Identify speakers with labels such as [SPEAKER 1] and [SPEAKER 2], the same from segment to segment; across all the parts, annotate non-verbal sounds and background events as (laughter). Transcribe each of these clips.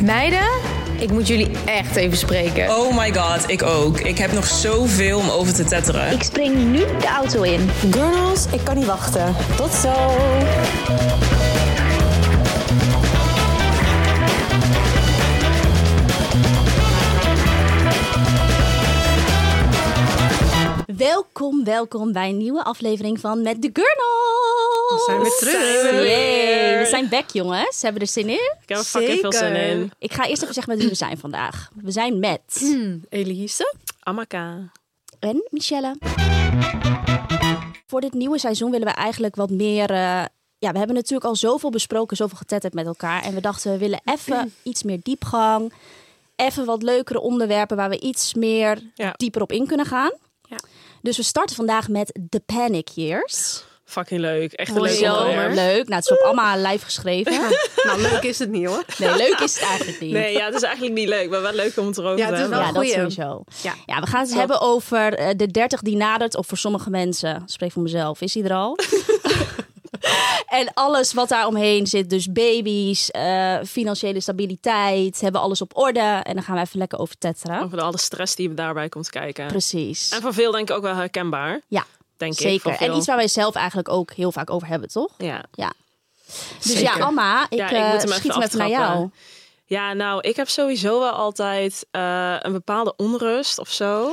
[SPEAKER 1] Meiden, ik moet jullie echt even spreken.
[SPEAKER 2] Oh my god, ik ook. Ik heb nog zoveel om over te tetteren.
[SPEAKER 3] Ik spring nu de auto in.
[SPEAKER 4] Girls, ik kan niet wachten. Tot zo.
[SPEAKER 3] Welkom, welkom bij een nieuwe aflevering van Met de Gurnals.
[SPEAKER 5] We zijn weer terug.
[SPEAKER 2] Zijn we
[SPEAKER 3] Yay, we zijn back, jongens. Hebben we er zin in?
[SPEAKER 5] Ik heb er fucking veel zin
[SPEAKER 4] Zeker.
[SPEAKER 5] in.
[SPEAKER 3] Ik ga eerst even zeggen met wie we zijn vandaag. We zijn met
[SPEAKER 5] Hmm.
[SPEAKER 4] Elise?
[SPEAKER 5] Amaka.
[SPEAKER 3] en Michelle. Voor dit nieuwe seizoen willen we eigenlijk wat meer... eh, ja, we hebben natuurlijk al zoveel besproken, zoveel getetterd met elkaar. En we dachten, we willen
[SPEAKER 5] Hmm.
[SPEAKER 3] even iets meer diepgang. Even wat leukere onderwerpen waar we iets meer
[SPEAKER 5] Ja.
[SPEAKER 3] dieper op in kunnen gaan.
[SPEAKER 4] Ja.
[SPEAKER 3] Dus we starten vandaag met The Panic Years.
[SPEAKER 5] Fucking leuk. Echt een
[SPEAKER 4] Mooi
[SPEAKER 5] leuk
[SPEAKER 4] zo,
[SPEAKER 3] Zo
[SPEAKER 5] onderwerp.
[SPEAKER 4] maar.
[SPEAKER 3] leuk. Nou, het is op allemaal live geschreven.
[SPEAKER 5] (laughs)
[SPEAKER 4] Nou, leuk is het niet hoor.
[SPEAKER 3] Nee, leuk is het eigenlijk niet.
[SPEAKER 5] Nee, ja, het is eigenlijk niet leuk, maar wel leuk om het erover
[SPEAKER 4] Ja,
[SPEAKER 5] te
[SPEAKER 4] het is
[SPEAKER 5] hebben.
[SPEAKER 4] wel
[SPEAKER 3] ja, dat
[SPEAKER 4] goeie.
[SPEAKER 3] sowieso. Ja.
[SPEAKER 4] Ja.
[SPEAKER 3] we gaan het hebben over eh, de 30 die nadert. Of voor sommige mensen, spreek voor mezelf, is die er
[SPEAKER 5] (laughs)
[SPEAKER 3] al? en alles wat daar omheen zit. Dus baby's, eh, financiële stabiliteit. Hebben we alles op orde. En dan gaan we even lekker over tetteren.
[SPEAKER 5] Over al de stress die daarbij komt kijken.
[SPEAKER 3] Precies.
[SPEAKER 5] Oh, En voor veel denk ik ook wel herkenbaar.
[SPEAKER 3] Ja,
[SPEAKER 5] Denk ik. voor
[SPEAKER 3] zeker.
[SPEAKER 5] veel.
[SPEAKER 3] En iets waar wij zelf eigenlijk ook heel vaak over hebben, toch?
[SPEAKER 5] Ja.
[SPEAKER 3] Ja. Dus
[SPEAKER 5] Zeker.
[SPEAKER 3] ja, Anna, ik,
[SPEAKER 5] Ja, ik
[SPEAKER 3] eh,
[SPEAKER 5] moet hem
[SPEAKER 3] schiet
[SPEAKER 5] even
[SPEAKER 3] hem even naar
[SPEAKER 5] aftrappen.
[SPEAKER 3] jou.
[SPEAKER 5] ja, nou, ik heb sowieso wel altijd eh, een bepaalde onrust of
[SPEAKER 3] (laughs)
[SPEAKER 5] zo.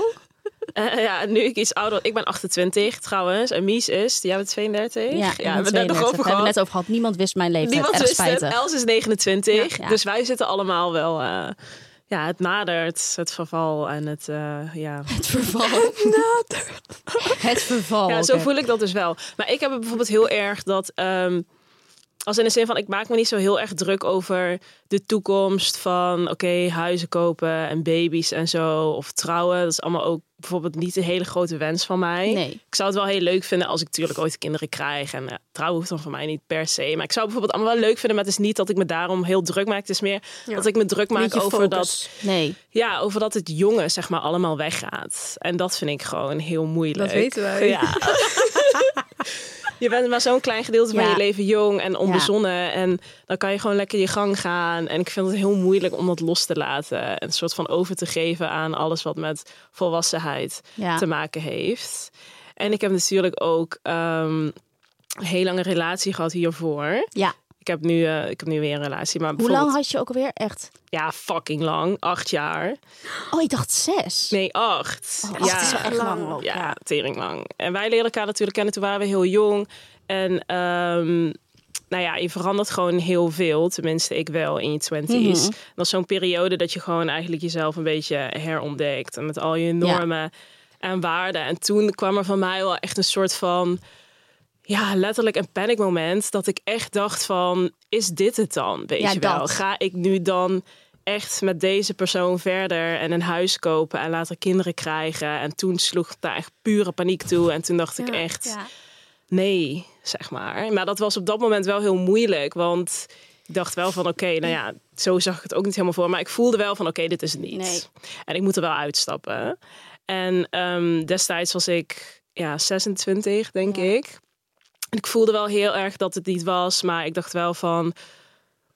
[SPEAKER 5] Eh, ja, nu ik iets ouder... Ik ben 28 trouwens. En Mies is... Jij bent 32?
[SPEAKER 3] Ja,
[SPEAKER 5] we hebben
[SPEAKER 3] we
[SPEAKER 5] het net nog over
[SPEAKER 3] hebben we
[SPEAKER 5] gehad.
[SPEAKER 3] net over gehad. Niemand wist mijn leeftijd.
[SPEAKER 5] Niemand
[SPEAKER 3] Erg
[SPEAKER 5] wist
[SPEAKER 3] spijtig.
[SPEAKER 5] het. Els is 29.
[SPEAKER 3] eh, Ja, ja.
[SPEAKER 5] Dus wij zitten allemaal wel. eh, ja, het nadert het verval en het. eh, ja.
[SPEAKER 3] Het (laughs) verval. Het verval.
[SPEAKER 5] ja, zo
[SPEAKER 3] oké.
[SPEAKER 5] voel ik dat dus wel. Maar ik heb het bijvoorbeeld heel erg dat. ehm, als in de zin van, ik maak me niet zo heel erg druk over de toekomst van, oké, huizen kopen en baby's en zo. Of trouwen. Dat is allemaal ook bijvoorbeeld niet een hele grote wens van mij.
[SPEAKER 3] Nee.
[SPEAKER 5] Ik zou het wel heel leuk vinden als ik natuurlijk ooit kinderen krijg. En eh, trouwen hoeft dan van mij niet per se. Maar ik zou het bijvoorbeeld allemaal wel leuk vinden. Maar het is niet dat ik me daarom heel druk maak. Het is meer dat ik me druk maak
[SPEAKER 4] Beetje
[SPEAKER 5] over
[SPEAKER 4] focus.
[SPEAKER 5] dat,
[SPEAKER 3] Nee.
[SPEAKER 5] ja, over dat het jongen zeg maar allemaal weggaat. En dat vind ik gewoon heel moeilijk.
[SPEAKER 4] Dat weten wij.
[SPEAKER 5] Ja. (laughs) je bent maar zo'n klein gedeelte
[SPEAKER 3] Ja.
[SPEAKER 5] van je leven jong en onbezonnen. En dan kan je gewoon lekker je gang gaan. En ik vind het heel moeilijk om dat los te laten. En een soort van over te geven aan alles wat met volwassenheid
[SPEAKER 3] Ja.
[SPEAKER 5] te maken heeft. En ik heb natuurlijk ook ehm, een heel lange relatie gehad hiervoor.
[SPEAKER 3] Ja.
[SPEAKER 5] Ik heb nu, eh, ik heb nu weer een relatie, maar
[SPEAKER 3] Hoe lang
[SPEAKER 5] bijvoorbeeld-
[SPEAKER 3] had je ook alweer? Echt?
[SPEAKER 5] Ja, fucking lang. Acht jaar.
[SPEAKER 3] Oh, ik dacht zes.
[SPEAKER 5] Nee, acht.
[SPEAKER 3] Oh,
[SPEAKER 5] ja.
[SPEAKER 3] acht is wel echt lang, ook.
[SPEAKER 5] ja,
[SPEAKER 3] Ja.
[SPEAKER 5] tering lang. En wij leren elkaar natuurlijk kennen toen waren we heel jong. En ehm, nou ja, je verandert gewoon heel veel. Tenminste, ik wel in je twenties.
[SPEAKER 3] Mhm.
[SPEAKER 5] En dat is zo'n periode dat je gewoon eigenlijk jezelf een beetje herontdekt. En met al je normen en waarden. En toen kwam er van mij wel echt een soort van... Ja, letterlijk een panic moment. Dat ik echt dacht van, is dit het dan? Weet
[SPEAKER 3] Ja,
[SPEAKER 5] je wel,
[SPEAKER 3] dat.
[SPEAKER 5] ga ik nu dan echt met deze persoon verder en een huis kopen en later kinderen krijgen? En toen sloeg daar echt pure paniek toe. En toen dacht ik echt,
[SPEAKER 3] Ja.
[SPEAKER 5] nee, zeg maar. Maar dat was op dat moment wel heel moeilijk, want ik dacht wel van, oké, nou ja, zo zag ik het ook niet helemaal voor. Maar ik voelde wel van, oké, dit is het niet.
[SPEAKER 3] Nee.
[SPEAKER 5] En ik moet er wel uitstappen. En ehm, destijds was ik ja, 26, denk ik. En ik voelde wel heel erg dat het niet was, maar ik dacht wel van...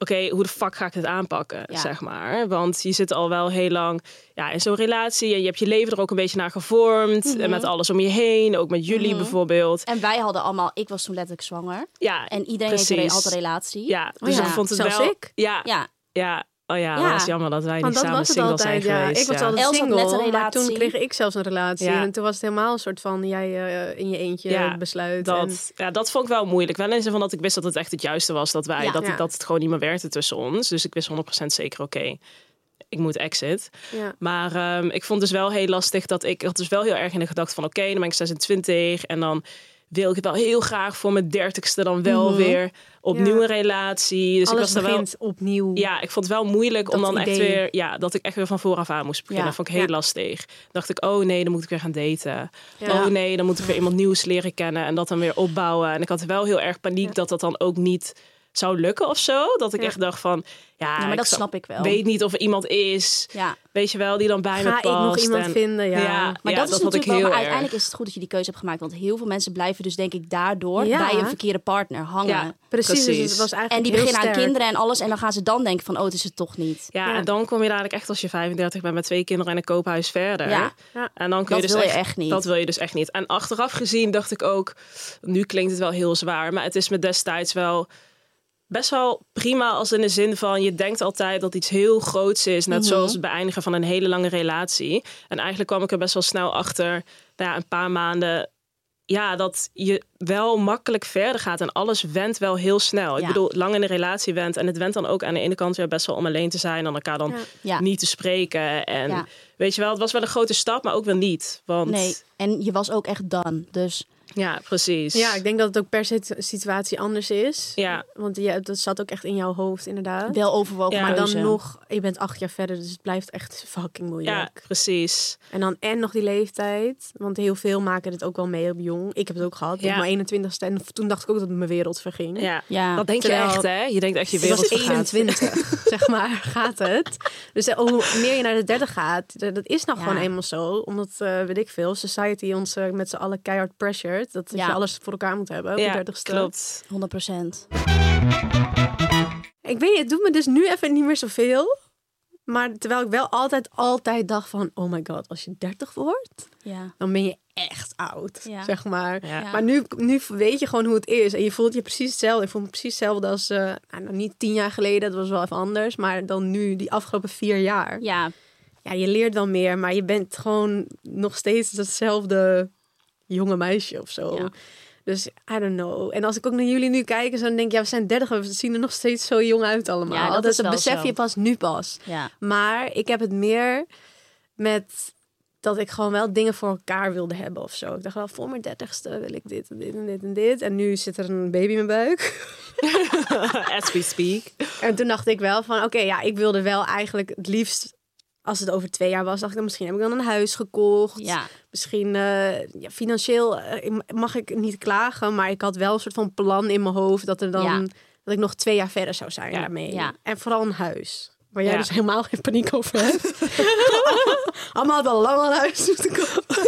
[SPEAKER 5] Oké, hoe de fuck ga ik dit aanpakken,
[SPEAKER 3] Ja.
[SPEAKER 5] zeg maar. Want je zit al wel heel lang ja, in zo'n relatie... en je hebt je leven er ook een beetje naar gevormd...
[SPEAKER 3] Mhm.
[SPEAKER 5] en met alles om je heen, ook met jullie bijvoorbeeld.
[SPEAKER 3] En wij hadden allemaal, ik was toen letterlijk zwanger.
[SPEAKER 5] Ja,
[SPEAKER 3] En iedereen heeft
[SPEAKER 5] precies.
[SPEAKER 3] een- altijd een relatie.
[SPEAKER 5] Ja, dus
[SPEAKER 3] ja,
[SPEAKER 5] ik vond het
[SPEAKER 4] zelfs
[SPEAKER 5] wel...
[SPEAKER 4] ik.
[SPEAKER 5] Ja, ja.
[SPEAKER 3] Ja.
[SPEAKER 5] Oh ja,
[SPEAKER 3] Ja.
[SPEAKER 5] dat is jammer dat wij niet
[SPEAKER 4] Want dat
[SPEAKER 5] samen
[SPEAKER 4] was het
[SPEAKER 5] single
[SPEAKER 4] altijd.
[SPEAKER 5] zijn
[SPEAKER 4] Ja.
[SPEAKER 5] geweest.
[SPEAKER 4] Ik was
[SPEAKER 5] ja.
[SPEAKER 4] altijd
[SPEAKER 3] Els had
[SPEAKER 4] single,
[SPEAKER 3] net een
[SPEAKER 4] maar toen
[SPEAKER 3] relatie.
[SPEAKER 4] kreeg ik zelfs een relatie.
[SPEAKER 5] Ja.
[SPEAKER 4] En toen was het helemaal een soort van jij eh, in je eentje
[SPEAKER 5] Ja,
[SPEAKER 4] besluit. en-
[SPEAKER 5] Dat, ja, dat vond ik wel moeilijk. Wel in de zin van dat ik wist dat het echt het juiste was. Dat, wij,
[SPEAKER 3] Ja.
[SPEAKER 5] dat,
[SPEAKER 4] Ja.
[SPEAKER 5] dat het gewoon niet meer werkte tussen ons. Dus ik wist 100% zeker, oké, ik moet exit.
[SPEAKER 4] ja.
[SPEAKER 5] Maar ehm, ik vond het dus wel heel lastig dat ik... Ik had dus wel heel erg in de gedachte van... Oké, dan ben ik 26 en dan wil ik het wel heel graag voor mijn dertigste dan wel weer opnieuw
[SPEAKER 4] Mhm. Ja.
[SPEAKER 5] een relatie. Dus ik was
[SPEAKER 4] Alles
[SPEAKER 5] er wel
[SPEAKER 4] begint opnieuw.
[SPEAKER 3] Mm.
[SPEAKER 5] ja, ik vond het wel moeilijk om
[SPEAKER 4] Dat
[SPEAKER 5] dan echt
[SPEAKER 4] idee.
[SPEAKER 5] weer... Ja, dat ik echt weer van vooraf aan moest beginnen.
[SPEAKER 3] Ja,
[SPEAKER 5] Dat vond ik heel
[SPEAKER 4] ja.
[SPEAKER 5] lastig. Dan dacht ik, oh nee, dan moet ik weer gaan daten.
[SPEAKER 4] Ja.
[SPEAKER 5] Oh nee, dan moet ik weer iemand nieuws leren kennen. En dat dan weer opbouwen. En ik had wel heel erg paniek dat dat dan ook niet zou lukken of zo. Dat ik
[SPEAKER 4] Ja.
[SPEAKER 5] echt dacht van, ja,
[SPEAKER 3] Ja, maar
[SPEAKER 5] ik
[SPEAKER 3] dat
[SPEAKER 5] zou-
[SPEAKER 3] snap ik wel.
[SPEAKER 5] weet niet of er iemand is,
[SPEAKER 3] Ja.
[SPEAKER 5] weet je wel, die dan bij me
[SPEAKER 4] Ga
[SPEAKER 5] past.
[SPEAKER 4] ik nog iemand
[SPEAKER 5] en-
[SPEAKER 4] vinden? Ja.
[SPEAKER 3] Maar
[SPEAKER 5] ja,
[SPEAKER 3] dat is
[SPEAKER 5] vond ik
[SPEAKER 3] natuurlijk wel, maar
[SPEAKER 5] heel erg.
[SPEAKER 3] uiteindelijk is het goed dat je die keuze hebt gemaakt. Want heel veel mensen blijven dus denk ik daardoor
[SPEAKER 4] Ja.
[SPEAKER 3] bij een verkeerde partner hangen.
[SPEAKER 5] Ja,
[SPEAKER 4] Precies, dus
[SPEAKER 5] Precies.
[SPEAKER 4] het was eigenlijk
[SPEAKER 3] En die
[SPEAKER 4] heel
[SPEAKER 3] beginnen aan
[SPEAKER 4] sterk.
[SPEAKER 3] kinderen en alles. En dan gaan ze dan denken van, oh, het is het toch niet.
[SPEAKER 5] Ja,
[SPEAKER 4] Ja.
[SPEAKER 5] en dan kom je dadelijk echt als je 35 bent met twee kinderen en een koophuis verder.
[SPEAKER 3] Ja.
[SPEAKER 4] Ja.
[SPEAKER 5] En dan kun
[SPEAKER 3] Dat
[SPEAKER 5] je dus
[SPEAKER 3] wil je
[SPEAKER 5] echt,
[SPEAKER 3] echt niet.
[SPEAKER 5] Dat wil je dus echt niet. En achteraf gezien dacht ik ook, nu klinkt het wel heel zwaar, maar het is me destijds wel best wel prima als in de zin van je denkt altijd dat iets heel groots is, net zoals het beëindigen van een hele lange relatie. En eigenlijk kwam ik er best wel snel achter, nou ja, een paar maanden. Ja, dat je wel makkelijk verder gaat en alles wendt wel heel snel. Ik
[SPEAKER 3] Ja.
[SPEAKER 5] bedoel, lang in een relatie wendt en het wendt dan ook aan de ene kant weer best wel om alleen te zijn en elkaar dan
[SPEAKER 3] Ja.
[SPEAKER 5] niet te spreken. En
[SPEAKER 3] Ja.
[SPEAKER 5] weet je wel, het was wel een grote stap, maar ook wel niet. Want
[SPEAKER 3] Nee, en je was ook echt done. Dus
[SPEAKER 5] ja, precies.
[SPEAKER 4] Ja, ik denk dat het ook per sit- situatie anders is.
[SPEAKER 5] Ja.
[SPEAKER 4] Want ja, dat zat ook echt in jouw hoofd, inderdaad.
[SPEAKER 3] wel overwogen
[SPEAKER 5] Ja.
[SPEAKER 4] maar
[SPEAKER 3] keuze.
[SPEAKER 4] dan nog, je bent acht jaar verder, dus het blijft echt fucking
[SPEAKER 5] ja,
[SPEAKER 4] moeilijk.
[SPEAKER 5] precies.
[SPEAKER 4] En dan en nog die leeftijd. Want heel veel maken dit ook wel mee op jong. Ik heb het ook gehad.
[SPEAKER 5] Ja.
[SPEAKER 4] Op mijn 21ste. En toen dacht ik ook dat mijn wereld verging.
[SPEAKER 5] Ja.
[SPEAKER 3] Ja.
[SPEAKER 5] Dat denk
[SPEAKER 4] Terwijl-
[SPEAKER 5] je echt, hè? Je denkt echt je
[SPEAKER 4] Ik
[SPEAKER 5] wereld
[SPEAKER 4] was
[SPEAKER 5] vergaat.
[SPEAKER 4] 21, (laughs) zeg maar, gaat het. Dus eh, hoe meer je naar de 30 gaat, d- dat is nou
[SPEAKER 3] Ja.
[SPEAKER 4] gewoon eenmaal zo. Omdat, eh, weet ik veel, society ons eh, met z'n allen keihard pressured. Dat
[SPEAKER 3] Ja.
[SPEAKER 4] je alles voor elkaar moet hebben op
[SPEAKER 5] Ja,
[SPEAKER 4] de 30ste.
[SPEAKER 5] klopt. (laughs)
[SPEAKER 3] 100 procent.
[SPEAKER 4] Ik weet niet, het doet me dus nu even niet meer zoveel. Maar terwijl ik wel altijd, altijd dacht van... Oh my god, als je 30 wordt,
[SPEAKER 3] Ja.
[SPEAKER 4] dan ben je echt oud,
[SPEAKER 3] Ja.
[SPEAKER 4] zeg maar.
[SPEAKER 5] Ja.
[SPEAKER 4] Maar nu, nu weet je gewoon hoe het is. En je voelt je precies hetzelfde. Ik voel me precies hetzelfde als... eh, nou, nou, niet tien jaar geleden, dat was wel even anders. Maar dan nu, die afgelopen vier jaar.
[SPEAKER 3] Ja.
[SPEAKER 4] Ja, je leert wel meer, maar je bent gewoon nog steeds hetzelfde jonge meisje of zo.
[SPEAKER 5] Ja.
[SPEAKER 4] Dus I don't know. En als ik ook naar jullie nu kijk, en zo, dan denk ik, ja, we zijn 30, we zien er nog steeds zo jong uit allemaal.
[SPEAKER 3] Ja, dat
[SPEAKER 4] dat
[SPEAKER 3] is wel
[SPEAKER 4] besef
[SPEAKER 3] zo.
[SPEAKER 4] je pas nu pas.
[SPEAKER 3] Ja.
[SPEAKER 4] Maar ik heb het meer met dat ik gewoon wel dingen voor elkaar wilde hebben of zo. Ik dacht wel, voor mijn dertigste wil ik dit en dit en dit en dit. En nu zit er een baby in mijn buik.
[SPEAKER 5] As we speak.
[SPEAKER 4] En toen dacht ik wel van, oké, ja, ik wilde wel eigenlijk het liefst... Als het over twee jaar was, dacht ik, misschien heb ik dan een huis gekocht.
[SPEAKER 3] Ja.
[SPEAKER 4] Misschien eh, ja, financieel eh, ik- mag ik niet klagen, maar ik had wel een soort van plan in mijn hoofd dat er dan
[SPEAKER 3] Ja.
[SPEAKER 4] dat ik nog twee jaar verder zou zijn
[SPEAKER 5] Ja.
[SPEAKER 4] daarmee.
[SPEAKER 3] Ja.
[SPEAKER 4] En vooral een huis. Waar jij
[SPEAKER 5] Ja.
[SPEAKER 4] dus helemaal geen paniek over hebt. (laughs) Allemaal hadden al lang al een huis moeten kopen.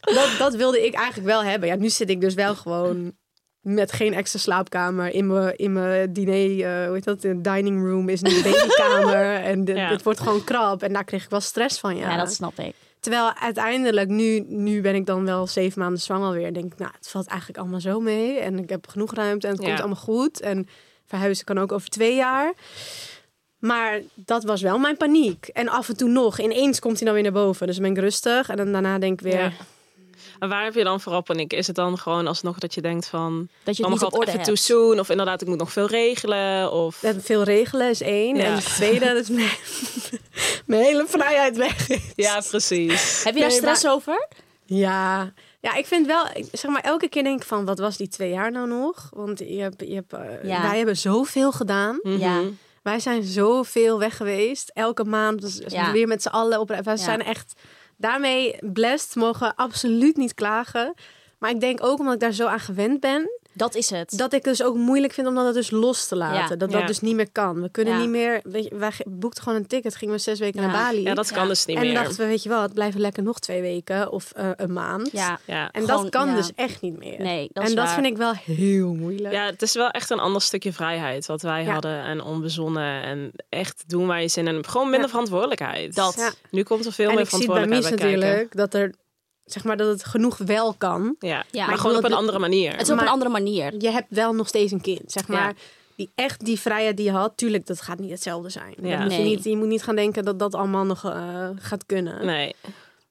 [SPEAKER 4] dat, dat wilde ik eigenlijk wel hebben. Ja, nu zit ik dus wel gewoon met geen extra slaapkamer in mijn, in mijn diner, eh, hoe heet dat, de dining room is nu een babykamer. en de-
[SPEAKER 5] Ja.
[SPEAKER 4] het wordt gewoon krap. En daar kreeg ik wel stress van, ja.
[SPEAKER 3] Ja, dat snap ik.
[SPEAKER 4] Terwijl uiteindelijk, nu, nu ben ik dan wel zeven maanden zwanger alweer. En denk ik, nou, het valt eigenlijk allemaal zo mee. En ik heb genoeg ruimte en het
[SPEAKER 5] Ja.
[SPEAKER 4] komt allemaal goed. En verhuizen kan ook over twee jaar. Maar dat was wel mijn paniek. En af en toe nog, ineens komt hij dan weer naar boven. Dus dan ben ik rustig. En dan daarna denk ik weer,
[SPEAKER 5] Ja. En waar heb je dan vooral paniek? Is het dan gewoon alsnog dat je denkt van...
[SPEAKER 3] Dat je
[SPEAKER 5] oh
[SPEAKER 3] het
[SPEAKER 5] my
[SPEAKER 3] niet
[SPEAKER 5] god,
[SPEAKER 3] op orde
[SPEAKER 5] even too
[SPEAKER 3] hebt.
[SPEAKER 5] soon. Of inderdaad, ik moet nog veel regelen. Of...
[SPEAKER 4] eh, veel regelen is één.
[SPEAKER 5] Ja.
[SPEAKER 4] En het tweede, dat is
[SPEAKER 5] (laughs)
[SPEAKER 4] mijn, mijn hele vrijheid weg is.
[SPEAKER 5] Ja, precies.
[SPEAKER 3] Heb je daar
[SPEAKER 4] Nee,
[SPEAKER 3] stress over?
[SPEAKER 4] Ja. Ja, ik vind wel, ik- zeg maar, elke keer denk ik van, wat was die twee jaar nou nog? Want je hebt, je hebt, eh,
[SPEAKER 3] Ja.
[SPEAKER 4] wij hebben zoveel gedaan.
[SPEAKER 5] Mhm.
[SPEAKER 3] Ja.
[SPEAKER 4] Wij zijn zoveel weg geweest. Elke maand dus
[SPEAKER 3] Ja.
[SPEAKER 4] weer met z'n allen op. Wij
[SPEAKER 3] Ja.
[SPEAKER 4] zijn echt daarmee blessed. Mogen absoluut niet klagen. Maar ik denk ook omdat ik daar zo aan gewend ben,
[SPEAKER 3] Dat is het.
[SPEAKER 4] dat ik dus ook moeilijk vind om dat dus los te laten.
[SPEAKER 3] Ja.
[SPEAKER 4] Dat dat
[SPEAKER 5] Ja.
[SPEAKER 4] dus niet meer kan. We kunnen
[SPEAKER 3] Ja.
[SPEAKER 4] niet meer. Weet je, wij ge- boekten gewoon een ticket, gingen we zes weken
[SPEAKER 3] Ja.
[SPEAKER 4] naar Bali.
[SPEAKER 5] Ja, dat kan dus niet
[SPEAKER 4] en
[SPEAKER 5] meer.
[SPEAKER 4] dachten we, weet je wat, blijven lekker nog twee weken of eh, een maand.
[SPEAKER 3] ja.
[SPEAKER 5] ja.
[SPEAKER 4] En
[SPEAKER 3] Gewoon,
[SPEAKER 4] dat kan
[SPEAKER 3] ja.
[SPEAKER 4] dus echt niet meer.
[SPEAKER 3] Nee, dat is
[SPEAKER 4] en dat
[SPEAKER 3] waar.
[SPEAKER 4] vind ik wel heel moeilijk.
[SPEAKER 5] Ja, het is wel echt een ander stukje vrijheid wat wij
[SPEAKER 4] Ja.
[SPEAKER 5] hadden en onbezonnen en echt doen waar je zin in hebt. Gewoon minder
[SPEAKER 4] Ja.
[SPEAKER 5] verantwoordelijkheid.
[SPEAKER 3] Dat.
[SPEAKER 4] Ja.
[SPEAKER 5] Nu komt er veel
[SPEAKER 4] en
[SPEAKER 5] meer
[SPEAKER 4] ik zie het bij
[SPEAKER 5] verantwoordelijkheid
[SPEAKER 4] Mies
[SPEAKER 5] bij kijken.
[SPEAKER 4] natuurlijk dat er zeg maar dat het genoeg wel kan.
[SPEAKER 5] Ja.
[SPEAKER 3] Ja.
[SPEAKER 5] maar
[SPEAKER 3] Ik
[SPEAKER 5] gewoon
[SPEAKER 4] wil
[SPEAKER 5] op een
[SPEAKER 4] dat-
[SPEAKER 5] andere manier.
[SPEAKER 3] Het is op
[SPEAKER 4] Maar-
[SPEAKER 3] een andere manier.
[SPEAKER 4] Je hebt wel nog steeds een kind, zeg maar.
[SPEAKER 5] Ja.
[SPEAKER 4] Die echt die vrijheid die je had, tuurlijk, dat gaat niet hetzelfde zijn.
[SPEAKER 5] Ja.
[SPEAKER 4] Dat moet je,
[SPEAKER 3] Nee.
[SPEAKER 4] niet, je moet niet gaan denken dat dat allemaal nog eh, gaat kunnen.
[SPEAKER 5] Nee,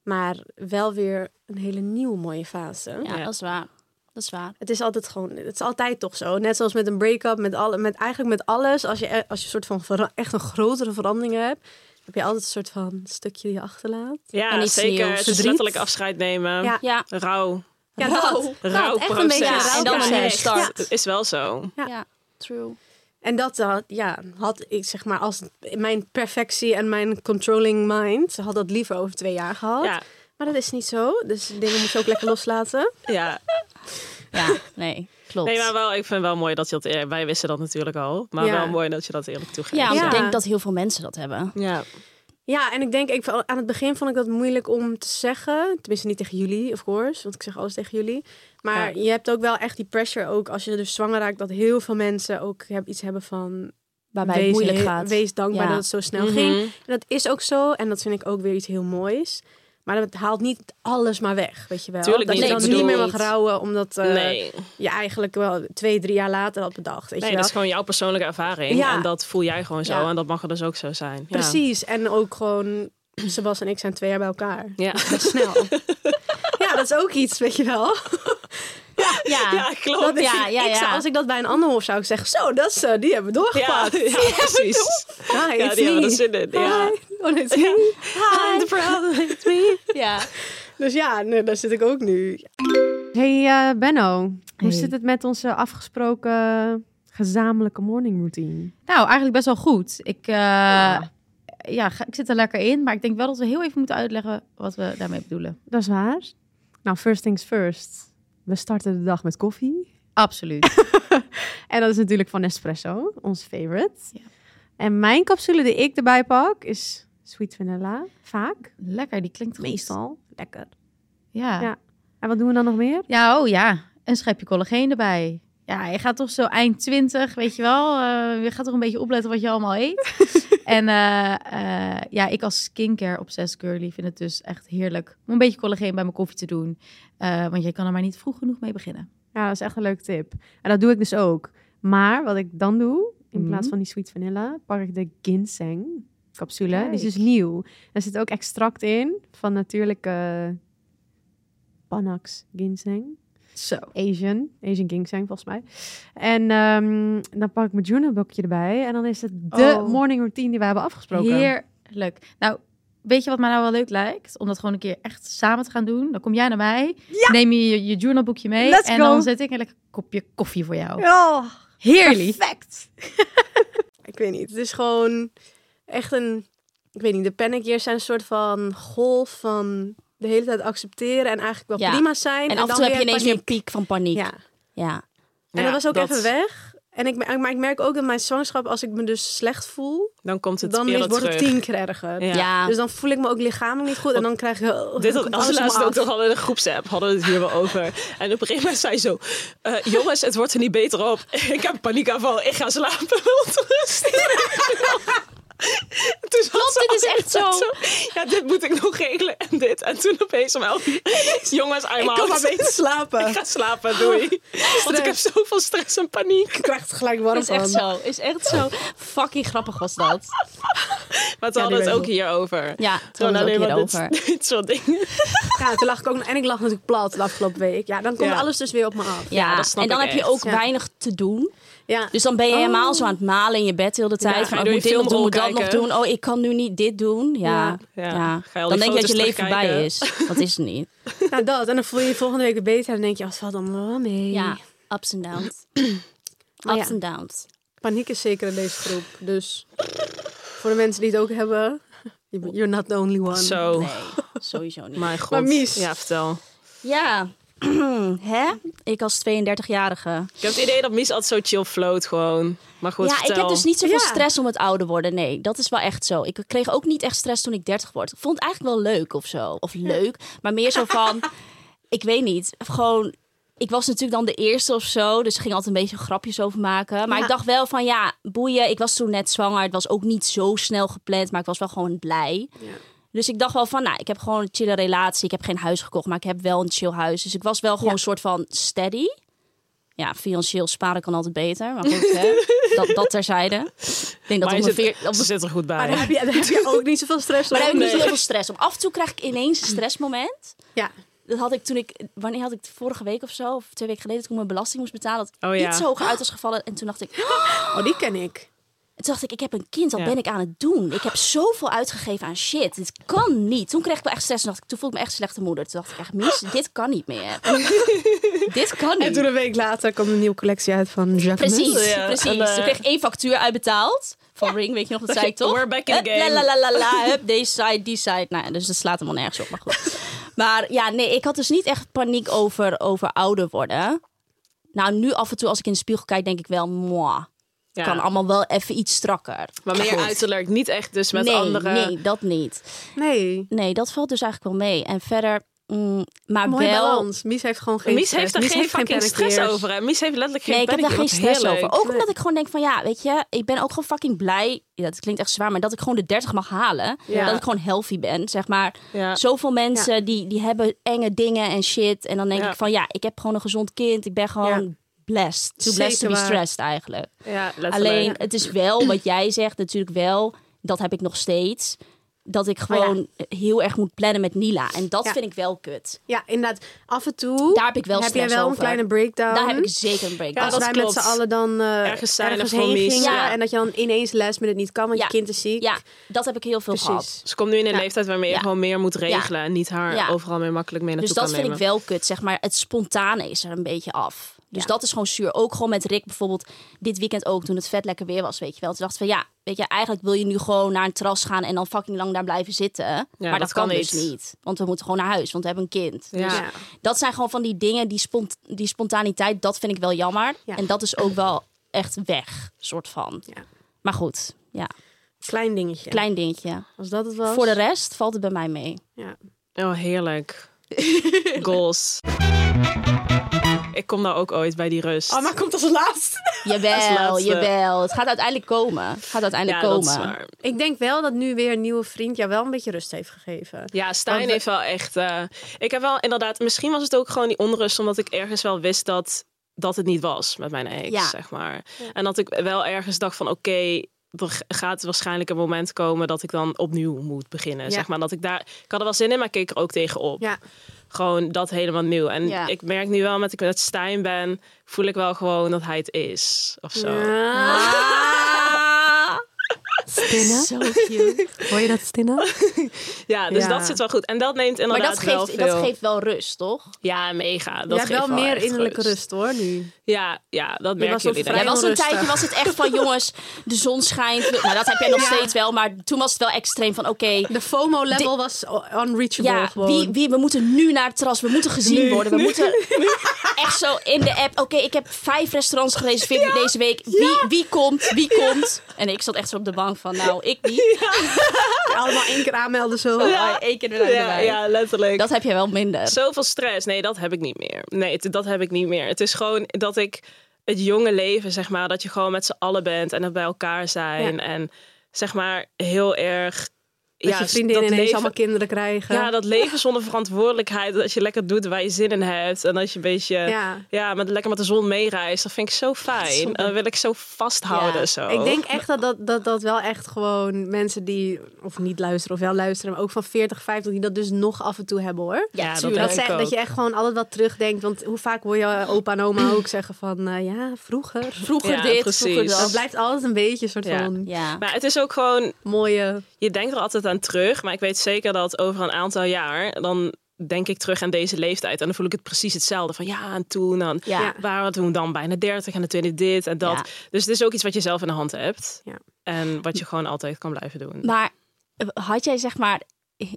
[SPEAKER 4] Maar wel weer een hele nieuwe mooie fase.
[SPEAKER 3] Ja,
[SPEAKER 5] Ja.
[SPEAKER 3] dat is waar. Dat is waar.
[SPEAKER 4] Het is altijd gewoon, het is altijd toch zo. Net zoals met een break-up, met, alle, met eigenlijk met alles. Als je, e- als je een soort van vera- echt een grotere verandering hebt, heb je altijd een soort van stukje die je achterlaat.
[SPEAKER 5] ja,
[SPEAKER 3] En iets
[SPEAKER 5] zeker.
[SPEAKER 3] nieuws.
[SPEAKER 5] Het is
[SPEAKER 4] Verdriet.
[SPEAKER 5] letterlijk afscheid nemen.
[SPEAKER 4] Ja.
[SPEAKER 3] Ja.
[SPEAKER 5] Rauw.
[SPEAKER 4] Ja,
[SPEAKER 3] Rauw.
[SPEAKER 4] dat.
[SPEAKER 5] Rauw
[SPEAKER 4] Nou, echt een beetje
[SPEAKER 5] proces.
[SPEAKER 4] rauw
[SPEAKER 3] En dan een nieuwe
[SPEAKER 5] echt.
[SPEAKER 3] start.
[SPEAKER 5] Het is wel zo.
[SPEAKER 4] Ja.
[SPEAKER 3] Ja, true.
[SPEAKER 4] En dat had, ja, had ik zeg maar als mijn perfectie en mijn controlling mind had dat liever over twee jaar gehad.
[SPEAKER 5] Ja,
[SPEAKER 4] Maar dat is niet zo. Dus dingen moet je ook lekker loslaten.
[SPEAKER 5] ja.
[SPEAKER 3] Ja, nee. Klopt.
[SPEAKER 5] Nee, maar wel, ik vind wel mooi dat je dat... eh, Wij wisten dat natuurlijk al. Maar
[SPEAKER 4] Ja.
[SPEAKER 5] wel mooi dat je dat eerlijk toegeeft.
[SPEAKER 3] Ja, want
[SPEAKER 4] Ja.
[SPEAKER 3] ik denk dat heel veel mensen dat hebben.
[SPEAKER 5] ja.
[SPEAKER 4] Ja, en ik denk, ik, aan het begin vond ik dat moeilijk om te zeggen. Tenminste, niet tegen jullie, of course, want ik zeg alles tegen jullie. Maar je hebt ook wel echt die pressure, ook als je dus zwanger raakt, dat heel veel mensen ook heb, iets hebben van.
[SPEAKER 3] Waarbij het moeilijk
[SPEAKER 4] he-
[SPEAKER 3] gaat.
[SPEAKER 4] Wees dankbaar
[SPEAKER 3] Ja. Mhm.
[SPEAKER 4] dat het zo snel ging. En dat is ook zo, en dat vind ik ook weer iets heel moois. Maar dat haalt niet alles maar weg, weet je wel.
[SPEAKER 5] Tuurlijk
[SPEAKER 4] dat
[SPEAKER 5] niet,
[SPEAKER 4] je
[SPEAKER 5] ik
[SPEAKER 4] dan niet
[SPEAKER 5] bedoel-
[SPEAKER 4] meer mag rouwen, omdat eh,
[SPEAKER 5] nee,
[SPEAKER 4] je eigenlijk wel twee, drie jaar later had bedacht.
[SPEAKER 5] nee
[SPEAKER 4] Weet je wel?
[SPEAKER 5] dat is gewoon jouw persoonlijke ervaring.
[SPEAKER 4] Ja.
[SPEAKER 5] En dat voel jij gewoon zo.
[SPEAKER 4] Ja.
[SPEAKER 5] En dat mag er dus ook zo zijn. Ja.
[SPEAKER 4] Precies, en ook gewoon, (clears throat) Sebas en ik zijn twee jaar bij elkaar.
[SPEAKER 5] Ja.
[SPEAKER 4] Best snel. ja, dat is ook iets, weet je wel. (laughs)
[SPEAKER 3] Ja,
[SPEAKER 5] (laughs) Ja, klopt.
[SPEAKER 4] Dat
[SPEAKER 3] Ja,
[SPEAKER 4] ik,
[SPEAKER 3] ja,
[SPEAKER 4] ik zou-
[SPEAKER 3] ja.
[SPEAKER 4] als ik dat bij een ander hoor, zou ik zeggen: Zo, dat is, eh, die hebben we
[SPEAKER 5] Ja,
[SPEAKER 4] doorgepakt.
[SPEAKER 5] ja, precies.
[SPEAKER 4] (laughs) Ja,
[SPEAKER 5] Ja, die hebben er zin in. Ja.
[SPEAKER 4] Hi. Oh, nee, het is me. Hi.
[SPEAKER 3] ja.
[SPEAKER 4] Dus ja, nee, daar zit ik ook nu.
[SPEAKER 6] Hey eh, Benno, hoe
[SPEAKER 7] Hey.
[SPEAKER 6] zit het met onze afgesproken gezamenlijke morning routine?
[SPEAKER 7] Nou, eigenlijk best wel goed. Ik, eh, ja. ga- ik zit er lekker in, maar ik denk wel dat we heel even moeten uitleggen wat we daarmee bedoelen.
[SPEAKER 6] Dat is waar. Nou, first things first. We starten de dag met koffie.
[SPEAKER 7] (laughs) Absoluut.
[SPEAKER 6] En dat is natuurlijk van Nespresso, ons favorite.
[SPEAKER 7] Ja.
[SPEAKER 6] En mijn capsule die ik erbij pak is sweet vanilla, vaak.
[SPEAKER 7] lekker, die klinkt goed.
[SPEAKER 6] Meestal. Lekker.
[SPEAKER 7] Ja.
[SPEAKER 6] Ja.
[SPEAKER 7] ja.
[SPEAKER 6] En wat doen we dan nog meer?
[SPEAKER 7] oh ja. Een schepje collageen erbij. Ja, je gaat toch zo eind 20, weet je wel. eh, je gaat toch een beetje opletten wat je allemaal eet. (laughs) en eh, eh, ja, ik als skincare obsessed girly vind het dus echt heerlijk om een beetje collageen bij mijn koffie te doen. Eh, want je kan er maar niet vroeg genoeg mee beginnen.
[SPEAKER 6] Ja, dat is echt een leuke tip. En dat doe ik dus ook. Maar wat ik dan doe, in
[SPEAKER 7] Mhm.
[SPEAKER 6] plaats van die sweet vanilla, pak ik de ginseng capsule. Die is
[SPEAKER 7] Kijk.
[SPEAKER 6] dus nieuw. Er zit ook extract in van natuurlijke Panax ginseng.
[SPEAKER 7] Zo.
[SPEAKER 6] Asian. Asian ginseng, volgens mij. En ehm, dan pak ik mijn Junebokje erbij. En dan is het de
[SPEAKER 7] Oh.
[SPEAKER 6] morning routine die we hebben afgesproken.
[SPEAKER 7] Heerlijk. Nou, weet je wat mij nou wel leuk lijkt? Om dat gewoon een keer echt samen te gaan doen. Dan kom jij naar mij, neem je je, je journalboekje mee
[SPEAKER 6] Let's
[SPEAKER 7] en
[SPEAKER 6] go.
[SPEAKER 7] dan zet ik een lekker kopje koffie voor jou.
[SPEAKER 6] Oh,
[SPEAKER 7] Heerlijk.
[SPEAKER 6] perfect.
[SPEAKER 4] Ik weet niet. Het is gewoon echt een. Ik weet niet, de panic years zijn een soort van golf van de hele tijd accepteren en eigenlijk wel
[SPEAKER 3] Ja.
[SPEAKER 4] prima zijn.
[SPEAKER 3] En af en
[SPEAKER 4] dan
[SPEAKER 3] toe heb je
[SPEAKER 4] weer
[SPEAKER 3] ineens weer een
[SPEAKER 4] paniek.
[SPEAKER 3] piek van paniek.
[SPEAKER 4] Ja.
[SPEAKER 3] ja.
[SPEAKER 4] En
[SPEAKER 5] Ja,
[SPEAKER 4] dat was ook even weg. En ik, mer- maar ik merk ook dat mijn zwangerschap, als ik me dus slecht voel,
[SPEAKER 5] Dan komt het
[SPEAKER 4] dan
[SPEAKER 5] eerder
[SPEAKER 4] wordt het
[SPEAKER 5] terug.
[SPEAKER 4] tien keer erger.
[SPEAKER 5] Ja.
[SPEAKER 3] Ja.
[SPEAKER 4] Dus dan voel ik me ook lichamelijk niet goed. En dan krijg je... oh,
[SPEAKER 5] Dit had
[SPEAKER 4] komt
[SPEAKER 5] als
[SPEAKER 4] (laughs) alles
[SPEAKER 5] laatst
[SPEAKER 4] om
[SPEAKER 5] ook
[SPEAKER 4] af.
[SPEAKER 5] nog al in een groepsapp hadden we het hier wel over. En op een gegeven moment zei ze zo: eh, Jongens, het wordt er niet beter op. (laughs) Ik heb paniekaanval, ik ga slapen. (laughs) Ontrust. Toen zat
[SPEAKER 3] Klopt,
[SPEAKER 5] ze
[SPEAKER 3] dit is
[SPEAKER 5] al
[SPEAKER 3] echt
[SPEAKER 5] inderdaad
[SPEAKER 3] zo.
[SPEAKER 5] Ja, dit moet ik nog regelen en dit. En toen opeens om 11 uur, (laughs) Jongens, I'm
[SPEAKER 4] Ik kan maar
[SPEAKER 5] out.
[SPEAKER 4] beter slapen.
[SPEAKER 5] Ik ga slapen,
[SPEAKER 3] (laughs)
[SPEAKER 5] doei. Want ik heb zoveel stress en paniek.
[SPEAKER 4] Ik krijg het gelijk warm
[SPEAKER 3] Is echt
[SPEAKER 4] van.
[SPEAKER 3] zo. Is echt zo. Fucking grappig was dat.
[SPEAKER 5] Maar toen
[SPEAKER 4] Ja, die
[SPEAKER 5] hadden we
[SPEAKER 4] weet
[SPEAKER 5] het ook
[SPEAKER 4] ik.
[SPEAKER 5] hierover.
[SPEAKER 3] Ja, toen
[SPEAKER 5] Gewoon alleen
[SPEAKER 3] alleen
[SPEAKER 5] maar
[SPEAKER 3] hierover.
[SPEAKER 5] dit, (laughs) dit soort dingen.
[SPEAKER 4] Ja, toen lag ik ook nog- En ik lag natuurlijk plat de afgelopen week. Ja, dan komt
[SPEAKER 5] Ja.
[SPEAKER 4] alles dus weer op me af.
[SPEAKER 3] Ja,
[SPEAKER 5] dat snap
[SPEAKER 3] en dan
[SPEAKER 5] ik
[SPEAKER 3] heb je
[SPEAKER 5] echt.
[SPEAKER 3] ook
[SPEAKER 4] Ja.
[SPEAKER 3] weinig te doen.
[SPEAKER 4] Ja.
[SPEAKER 3] Dus dan ben je helemaal zo aan het malen in je bed de hele tijd.
[SPEAKER 5] Ja,
[SPEAKER 3] van,
[SPEAKER 5] ga
[SPEAKER 3] oh,
[SPEAKER 5] je
[SPEAKER 3] ik moet
[SPEAKER 5] door
[SPEAKER 3] dit
[SPEAKER 5] je
[SPEAKER 3] nog doen, moet dat
[SPEAKER 5] filmrol
[SPEAKER 3] nog doen. Oh, ik kan nu niet dit doen. Ja,
[SPEAKER 5] Ja,
[SPEAKER 3] ja.
[SPEAKER 5] ja. Ga je al die
[SPEAKER 3] Dan denk je dat je
[SPEAKER 5] foto's
[SPEAKER 3] leven voorbij
[SPEAKER 5] terugkijken?
[SPEAKER 3] is. Dat is het niet.
[SPEAKER 4] Nou, dat. En dan voel je je volgende week weer beter. En dan denk je, als valt allemaal wel mee.
[SPEAKER 3] (laughs) Ja, ups en (clears throat) downs.
[SPEAKER 4] Maar ja.
[SPEAKER 3] Ups en downs.
[SPEAKER 4] Paniek is zeker in deze groep. Dus voor de mensen die het ook hebben... You're not the only one.
[SPEAKER 5] Zo,
[SPEAKER 3] Oh, Nee, sowieso niet.
[SPEAKER 5] mijn god.
[SPEAKER 4] Maar Mies.
[SPEAKER 5] Ja, vertel.
[SPEAKER 3] Ja, (clears throat) hè? Ik als 32-jarige.
[SPEAKER 5] Ik heb het idee dat Mies altijd zo chill float gewoon. Maar goed,
[SPEAKER 3] ja,
[SPEAKER 5] vertel.
[SPEAKER 3] ik heb dus niet zoveel
[SPEAKER 4] Ja.
[SPEAKER 3] stress om het ouder worden. Nee, dat is wel echt zo. Ik kreeg ook niet echt stress toen ik 30 word. Ik vond het eigenlijk wel leuk of zo. Of leuk, maar meer zo
[SPEAKER 4] (laughs)
[SPEAKER 3] van... ik weet niet, gewoon... Ik was natuurlijk dan de eerste of zo, dus ik ging altijd een beetje grapjes over maken. Maar
[SPEAKER 4] Ja.
[SPEAKER 3] ik dacht wel van, ja, boeien. Ik was toen net zwanger. Het was ook niet zo snel gepland, maar ik was wel gewoon blij. Dus ik dacht wel van, nou, ik heb gewoon een chille relatie. Ik heb geen huis gekocht, maar ik heb wel een chill huis. Dus ik was wel gewoon een soort van steady. Ja, financieel sparen kan altijd beter. Maar
[SPEAKER 5] (laughs)
[SPEAKER 3] goed, hè. Dat, dat terzijde. Ik denk dat
[SPEAKER 5] Maar
[SPEAKER 3] op
[SPEAKER 5] je zit,
[SPEAKER 3] mijn veer- op
[SPEAKER 5] ze
[SPEAKER 3] mijn-
[SPEAKER 5] zit er goed
[SPEAKER 4] Maar
[SPEAKER 5] bij.
[SPEAKER 4] daar heb, je, daar heb je ook niet zoveel stress
[SPEAKER 3] Maar daar heb ik
[SPEAKER 4] om.
[SPEAKER 3] niet heel veel stress om. Af en toe krijg ik
[SPEAKER 5] (clears throat)
[SPEAKER 3] ineens een stressmoment.
[SPEAKER 4] Ja.
[SPEAKER 3] Dat had ik toen ik, wanneer had ik het? vorige week of zo, of twee weken geleden, toen ik mijn belasting moest betalen, dat
[SPEAKER 5] Oh ja.
[SPEAKER 3] iets hoger uit was gevallen. En toen dacht ik,
[SPEAKER 4] Oh, die ken ik.
[SPEAKER 3] en Toen dacht ik, ik heb een kind, wat
[SPEAKER 5] Ja.
[SPEAKER 3] ben ik aan het doen? Ik heb zoveel uitgegeven aan shit. Dit kan niet. Toen kreeg ik wel echt stress. Toen, dacht ik, toen voelde ik me echt slechte moeder. Toen dacht ik echt,
[SPEAKER 5] (laughs)
[SPEAKER 3] mis, dit kan niet meer. dit kan
[SPEAKER 4] En toen
[SPEAKER 3] niet.
[SPEAKER 4] een week later kwam een nieuwe collectie uit van Jacques
[SPEAKER 3] Precies,
[SPEAKER 5] Ja,
[SPEAKER 3] precies.
[SPEAKER 5] en, eh,
[SPEAKER 3] Toen kreeg ik één factuur uitbetaald. Van Ring, weet je nog, dat zei ik toch?
[SPEAKER 5] We're back in the
[SPEAKER 3] Hup,
[SPEAKER 5] game.
[SPEAKER 3] La, la, la,
[SPEAKER 5] (laughs)
[SPEAKER 3] la, hup, deze side, die side. Nou, ja, dus dat slaat helemaal nergens op, maar goed. maar ja, nee, ik had dus niet echt paniek over, over ouder worden. Nou, nu af en toe als ik in de spiegel kijk, denk ik wel, moi.
[SPEAKER 5] Ja.
[SPEAKER 3] Kan allemaal wel even iets strakker.
[SPEAKER 5] Maar meer
[SPEAKER 3] Goed.
[SPEAKER 5] uiterlijk, niet echt dus met
[SPEAKER 3] nee,
[SPEAKER 5] andere...
[SPEAKER 3] nee, dat niet.
[SPEAKER 4] Nee.
[SPEAKER 3] Nee, dat valt dus eigenlijk wel mee. En verder, mm, maar
[SPEAKER 4] Mooi
[SPEAKER 3] wel...
[SPEAKER 4] balans. Mies heeft gewoon geen
[SPEAKER 5] Mies
[SPEAKER 4] stress.
[SPEAKER 5] heeft daar geen fucking
[SPEAKER 4] panic
[SPEAKER 5] stress
[SPEAKER 4] tears.
[SPEAKER 5] over. Hè? Mies heeft letterlijk geen
[SPEAKER 3] Nee, ik heb daar geen
[SPEAKER 5] paniek.
[SPEAKER 3] stress
[SPEAKER 5] Wat
[SPEAKER 3] over.
[SPEAKER 5] heerlijk.
[SPEAKER 3] Ook omdat ik gewoon denk van ja, weet je, ik ben ook gewoon fucking blij. Ja, dat klinkt echt zwaar, maar dat ik gewoon de 30 mag halen.
[SPEAKER 5] Ja.
[SPEAKER 3] Dat ik gewoon healthy ben, zeg maar.
[SPEAKER 5] Ja.
[SPEAKER 3] Zoveel mensen die, die hebben enge dingen en shit. En dan denk
[SPEAKER 5] Ja.
[SPEAKER 3] ik van ja, ik heb gewoon een gezond kind. Ik ben gewoon
[SPEAKER 4] Ja.
[SPEAKER 3] blessed. Too blessed to
[SPEAKER 4] Zeker
[SPEAKER 3] be
[SPEAKER 4] waar.
[SPEAKER 3] stressed eigenlijk.
[SPEAKER 5] Ja, letterlijk.
[SPEAKER 3] Alleen, het is wel wat jij zegt natuurlijk wel. Dat heb ik nog steeds. Dat ik
[SPEAKER 4] ja.
[SPEAKER 3] gewoon heel erg moet plannen met Nila. En dat
[SPEAKER 4] Ja.
[SPEAKER 3] vind ik wel kut.
[SPEAKER 4] Ja, inderdaad. Af en toe
[SPEAKER 3] Daar heb ik wel
[SPEAKER 4] jij
[SPEAKER 3] stress
[SPEAKER 4] wel
[SPEAKER 3] over.
[SPEAKER 4] een kleine breakdown.
[SPEAKER 3] Daar heb ik zeker een breakdown.
[SPEAKER 5] Ja, dat
[SPEAKER 4] als wij
[SPEAKER 5] klopt.
[SPEAKER 4] met z'n allen dan eh,
[SPEAKER 5] Ergens zijn
[SPEAKER 4] ergens
[SPEAKER 5] of voor
[SPEAKER 4] heen
[SPEAKER 5] Mies.
[SPEAKER 4] gingen.
[SPEAKER 3] Ja.
[SPEAKER 4] En dat je dan ineens les met het niet kan, want
[SPEAKER 3] Ja.
[SPEAKER 4] je kind is ziek.
[SPEAKER 3] Ja, dat heb ik heel veel gehad.
[SPEAKER 4] Precies.
[SPEAKER 5] Ze komt nu in een
[SPEAKER 4] Ja.
[SPEAKER 5] leeftijd waarmee je
[SPEAKER 3] Ja.
[SPEAKER 5] gewoon meer moet regelen. En niet haar
[SPEAKER 3] Ja.
[SPEAKER 5] overal meer makkelijk mee
[SPEAKER 3] Dus
[SPEAKER 5] naartoe
[SPEAKER 3] dat
[SPEAKER 5] kan
[SPEAKER 3] vind
[SPEAKER 5] nemen.
[SPEAKER 3] ik wel kut, zeg maar. Het spontane is er een beetje af. Dus dat is gewoon zuur. Ook gewoon met Rick bijvoorbeeld dit weekend ook, toen het vet lekker weer was, weet je wel. Toen dacht ik van, ja, weet je, eigenlijk wil je nu gewoon naar een terras gaan en dan fucking lang daar blijven zitten. maar dat,
[SPEAKER 5] dat
[SPEAKER 3] kan,
[SPEAKER 5] kan
[SPEAKER 3] dus
[SPEAKER 5] niet.
[SPEAKER 3] niet. Want we moeten gewoon naar huis, want we hebben een kind.
[SPEAKER 5] Ja.
[SPEAKER 3] Dus dat zijn gewoon van die dingen, die, spont die spontaniteit, dat vind ik wel jammer.
[SPEAKER 4] Ja.
[SPEAKER 3] En dat is ook wel echt weg, soort van.
[SPEAKER 4] Ja.
[SPEAKER 3] Maar goed, ja,
[SPEAKER 4] Klein dingetje.
[SPEAKER 3] klein dingetje.
[SPEAKER 4] Als dat het was.
[SPEAKER 3] Voor de rest valt het bij mij mee.
[SPEAKER 4] Ja.
[SPEAKER 3] dus-
[SPEAKER 5] Oh,
[SPEAKER 3] (laughs)
[SPEAKER 5] heerlijk. Goals. Ik kom daar ook ooit bij die rust.
[SPEAKER 3] Oh,
[SPEAKER 4] Anna Oh, komt als laatst.
[SPEAKER 5] Als
[SPEAKER 3] Jawel,
[SPEAKER 5] laatste.
[SPEAKER 3] jawel. Het gaat uiteindelijk komen. Het gaat
[SPEAKER 5] ja,
[SPEAKER 3] uiteindelijk
[SPEAKER 5] dat is
[SPEAKER 3] komen. (laughs)
[SPEAKER 5] waar.
[SPEAKER 4] Ik denk wel dat nu weer een nieuwe vriend jou wel een beetje rust heeft gegeven.
[SPEAKER 5] Ja, Stijn
[SPEAKER 4] Want we-
[SPEAKER 5] heeft wel echt... eh, ik heb wel inderdaad... Misschien was het ook gewoon die onrust... omdat ik ergens wel wist dat, dat het niet was met mijn ex,
[SPEAKER 3] Ja.
[SPEAKER 5] zeg maar. En dat ik wel ergens dacht van... oké, er g- gaat waarschijnlijk een moment komen... dat ik dan opnieuw moet beginnen,
[SPEAKER 4] Ja.
[SPEAKER 5] zeg maar. Dat ik, daar, ik had er wel zin in, maar ik keek er ook tegenop.
[SPEAKER 4] Ja.
[SPEAKER 5] Gewoon dat helemaal nieuw. En
[SPEAKER 3] Ja.
[SPEAKER 5] ik merk nu wel, met ik met Stijn ben... voel ik wel gewoon dat hij het is, of zo.
[SPEAKER 3] Ah,
[SPEAKER 4] Ja.
[SPEAKER 3] Zo cute.
[SPEAKER 6] (laughs) Hoor je dat, Stina?
[SPEAKER 5] Ja, dus
[SPEAKER 4] Ja.
[SPEAKER 5] dat zit wel goed. En dat neemt
[SPEAKER 3] Maar
[SPEAKER 5] inderdaad
[SPEAKER 3] dat
[SPEAKER 5] wel
[SPEAKER 3] geeft,
[SPEAKER 5] veel.
[SPEAKER 3] dat geeft wel rust, toch?
[SPEAKER 5] Ja, mega. Dat
[SPEAKER 4] Jij hebt
[SPEAKER 5] geeft
[SPEAKER 4] wel meer
[SPEAKER 5] echt
[SPEAKER 4] innerlijke rust. hoor nu.
[SPEAKER 5] Ja, ja dat merken
[SPEAKER 4] was
[SPEAKER 5] jullie
[SPEAKER 4] op
[SPEAKER 5] dan.
[SPEAKER 3] Jij
[SPEAKER 4] Vrij
[SPEAKER 3] was een
[SPEAKER 4] onrustig.
[SPEAKER 3] tijdje was het echt
[SPEAKER 5] (laughs)
[SPEAKER 3] van jongens, de zon schijnt. Nou, dat heb jij nog steeds wel, maar toen was het wel extreem van oké.
[SPEAKER 4] De FOMO level was unreachable
[SPEAKER 3] ja,
[SPEAKER 4] gewoon.
[SPEAKER 3] wie, wie, we moeten nu naar het terras. We moeten gezien worden. We moeten
[SPEAKER 5] (laughs)
[SPEAKER 3] echt zo in de app. Oké, ik heb vijf restaurants gereserveerd voor deze week. Wie, wie komt? Wie komt? En ik zat echt zo op de bank van, nou, ik niet.
[SPEAKER 4] Allemaal één keer aanmelden zo.
[SPEAKER 3] Ja. Eén keer erbij.
[SPEAKER 5] Ja, ja, letterlijk.
[SPEAKER 3] Dat heb je wel minder.
[SPEAKER 5] Zoveel stress. Nee, dat heb ik niet meer. Nee, het- dat heb ik niet meer. Het is gewoon dat ik het jonge leven, zeg maar, dat je gewoon met z'n allen bent en dat bij elkaar zijn. En zeg maar heel erg.
[SPEAKER 4] Dat
[SPEAKER 5] ja,
[SPEAKER 4] je vriendinnen
[SPEAKER 5] dat
[SPEAKER 4] ineens
[SPEAKER 5] leven-
[SPEAKER 4] allemaal kinderen krijgen.
[SPEAKER 5] Ja, dat leven zonder verantwoordelijkheid. Dat je lekker doet waar je zin in hebt. En dat je een beetje.
[SPEAKER 4] Ja.
[SPEAKER 5] Ja, met, lekker met de zon meereist. Dat vind ik zo fijn. En dat wil ik zo vasthouden.
[SPEAKER 3] Ja.
[SPEAKER 5] Zo.
[SPEAKER 4] Ik denk echt dat dat, dat dat wel echt gewoon mensen die of niet luisteren of wel luisteren, maar ook van 40, 50 die dat dus nog af en toe hebben hoor.
[SPEAKER 3] Ja,
[SPEAKER 5] dat
[SPEAKER 4] Dat,
[SPEAKER 5] denk
[SPEAKER 4] ze-
[SPEAKER 5] ik ook.
[SPEAKER 4] dat je echt gewoon altijd wat terugdenkt. Want hoe vaak hoor je opa en oma ook zeggen van eh, ja, vroeger.
[SPEAKER 3] Vroeger
[SPEAKER 5] Ja,
[SPEAKER 3] dit,
[SPEAKER 5] precies.
[SPEAKER 3] vroeger dat.
[SPEAKER 4] Dat blijft altijd een beetje een soort
[SPEAKER 5] Ja.
[SPEAKER 4] van
[SPEAKER 3] Ja.
[SPEAKER 5] Maar het is ook gewoon
[SPEAKER 4] mooie.
[SPEAKER 5] je denkt er altijd aan terug, maar ik weet zeker dat over een aantal jaar dan denk ik terug aan deze leeftijd en dan voel ik het precies hetzelfde van ja en toen dan
[SPEAKER 3] Ja.
[SPEAKER 5] ja. waren we toen dan bijna 30 en dan toen dit en dat.
[SPEAKER 3] Ja.
[SPEAKER 5] Dus het is ook iets wat je zelf in de hand hebt
[SPEAKER 4] Ja.
[SPEAKER 5] en wat je gewoon altijd kan blijven doen.
[SPEAKER 3] (laughs) Maar eh, had jij zeg maar,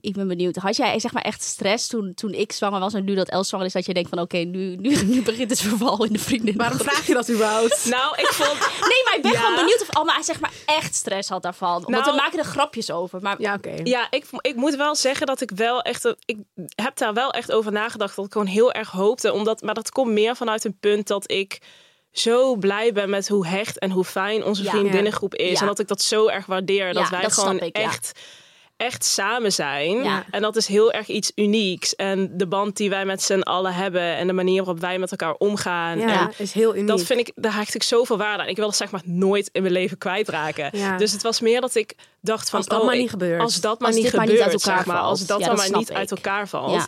[SPEAKER 3] ik ben benieuwd, had jij zeg maar echt stress toen, toen ik zwanger was en nu dat Els zwanger is, dat je denkt van oké, nu, nu, (laughs) nu begint het verval in de vriendin.
[SPEAKER 4] Waarom vraag je dat überhaupt?
[SPEAKER 5] Nou, ik vond
[SPEAKER 3] Nee, maar ik ben
[SPEAKER 5] Ja.
[SPEAKER 3] gewoon benieuwd of Alma zeg maar echt stress had daarvan. Want
[SPEAKER 5] Nou-
[SPEAKER 3] we maken er grapjes over. Maar
[SPEAKER 4] Ja, oké.
[SPEAKER 5] Ja, ik, ik moet wel zeggen dat ik wel echt. Ik heb daar wel echt over nagedacht. Dat ik gewoon heel erg hoopte. Omdat, maar dat komt meer vanuit een punt dat ik zo blij ben met hoe hecht en hoe fijn onze
[SPEAKER 3] Ja.
[SPEAKER 5] vriendinnengroep is.
[SPEAKER 3] Ja.
[SPEAKER 5] En dat ik dat zo erg waardeer. Dat
[SPEAKER 3] Ja,
[SPEAKER 5] wij
[SPEAKER 3] dat snap
[SPEAKER 5] gewoon
[SPEAKER 3] ik, ja.
[SPEAKER 5] echt. Echt samen zijn.
[SPEAKER 3] Ja.
[SPEAKER 5] En dat is heel erg iets unieks. En de band die wij met z'n allen hebben. En de manier waarop wij met elkaar omgaan.
[SPEAKER 4] Ja,
[SPEAKER 5] En
[SPEAKER 4] is heel uniek.
[SPEAKER 5] dat vind ik, daar hecht ik zoveel waarde aan. Ik wil dat zeg maar nooit in mijn leven kwijtraken.
[SPEAKER 4] Ja.
[SPEAKER 5] Dus het was meer dat ik dacht van...
[SPEAKER 4] Als dat
[SPEAKER 5] oh,
[SPEAKER 4] maar
[SPEAKER 5] ik-
[SPEAKER 4] niet gebeurt.
[SPEAKER 5] Als dat maar
[SPEAKER 3] Als
[SPEAKER 5] niet
[SPEAKER 3] dit maar
[SPEAKER 5] gebeurt,
[SPEAKER 3] niet uit elkaar
[SPEAKER 5] zeg maar. Als
[SPEAKER 3] valt.
[SPEAKER 5] dat
[SPEAKER 3] Ja,
[SPEAKER 5] dan
[SPEAKER 3] dat
[SPEAKER 5] maar niet
[SPEAKER 3] snap
[SPEAKER 5] uit
[SPEAKER 3] ik.
[SPEAKER 5] elkaar valt.
[SPEAKER 3] Ja.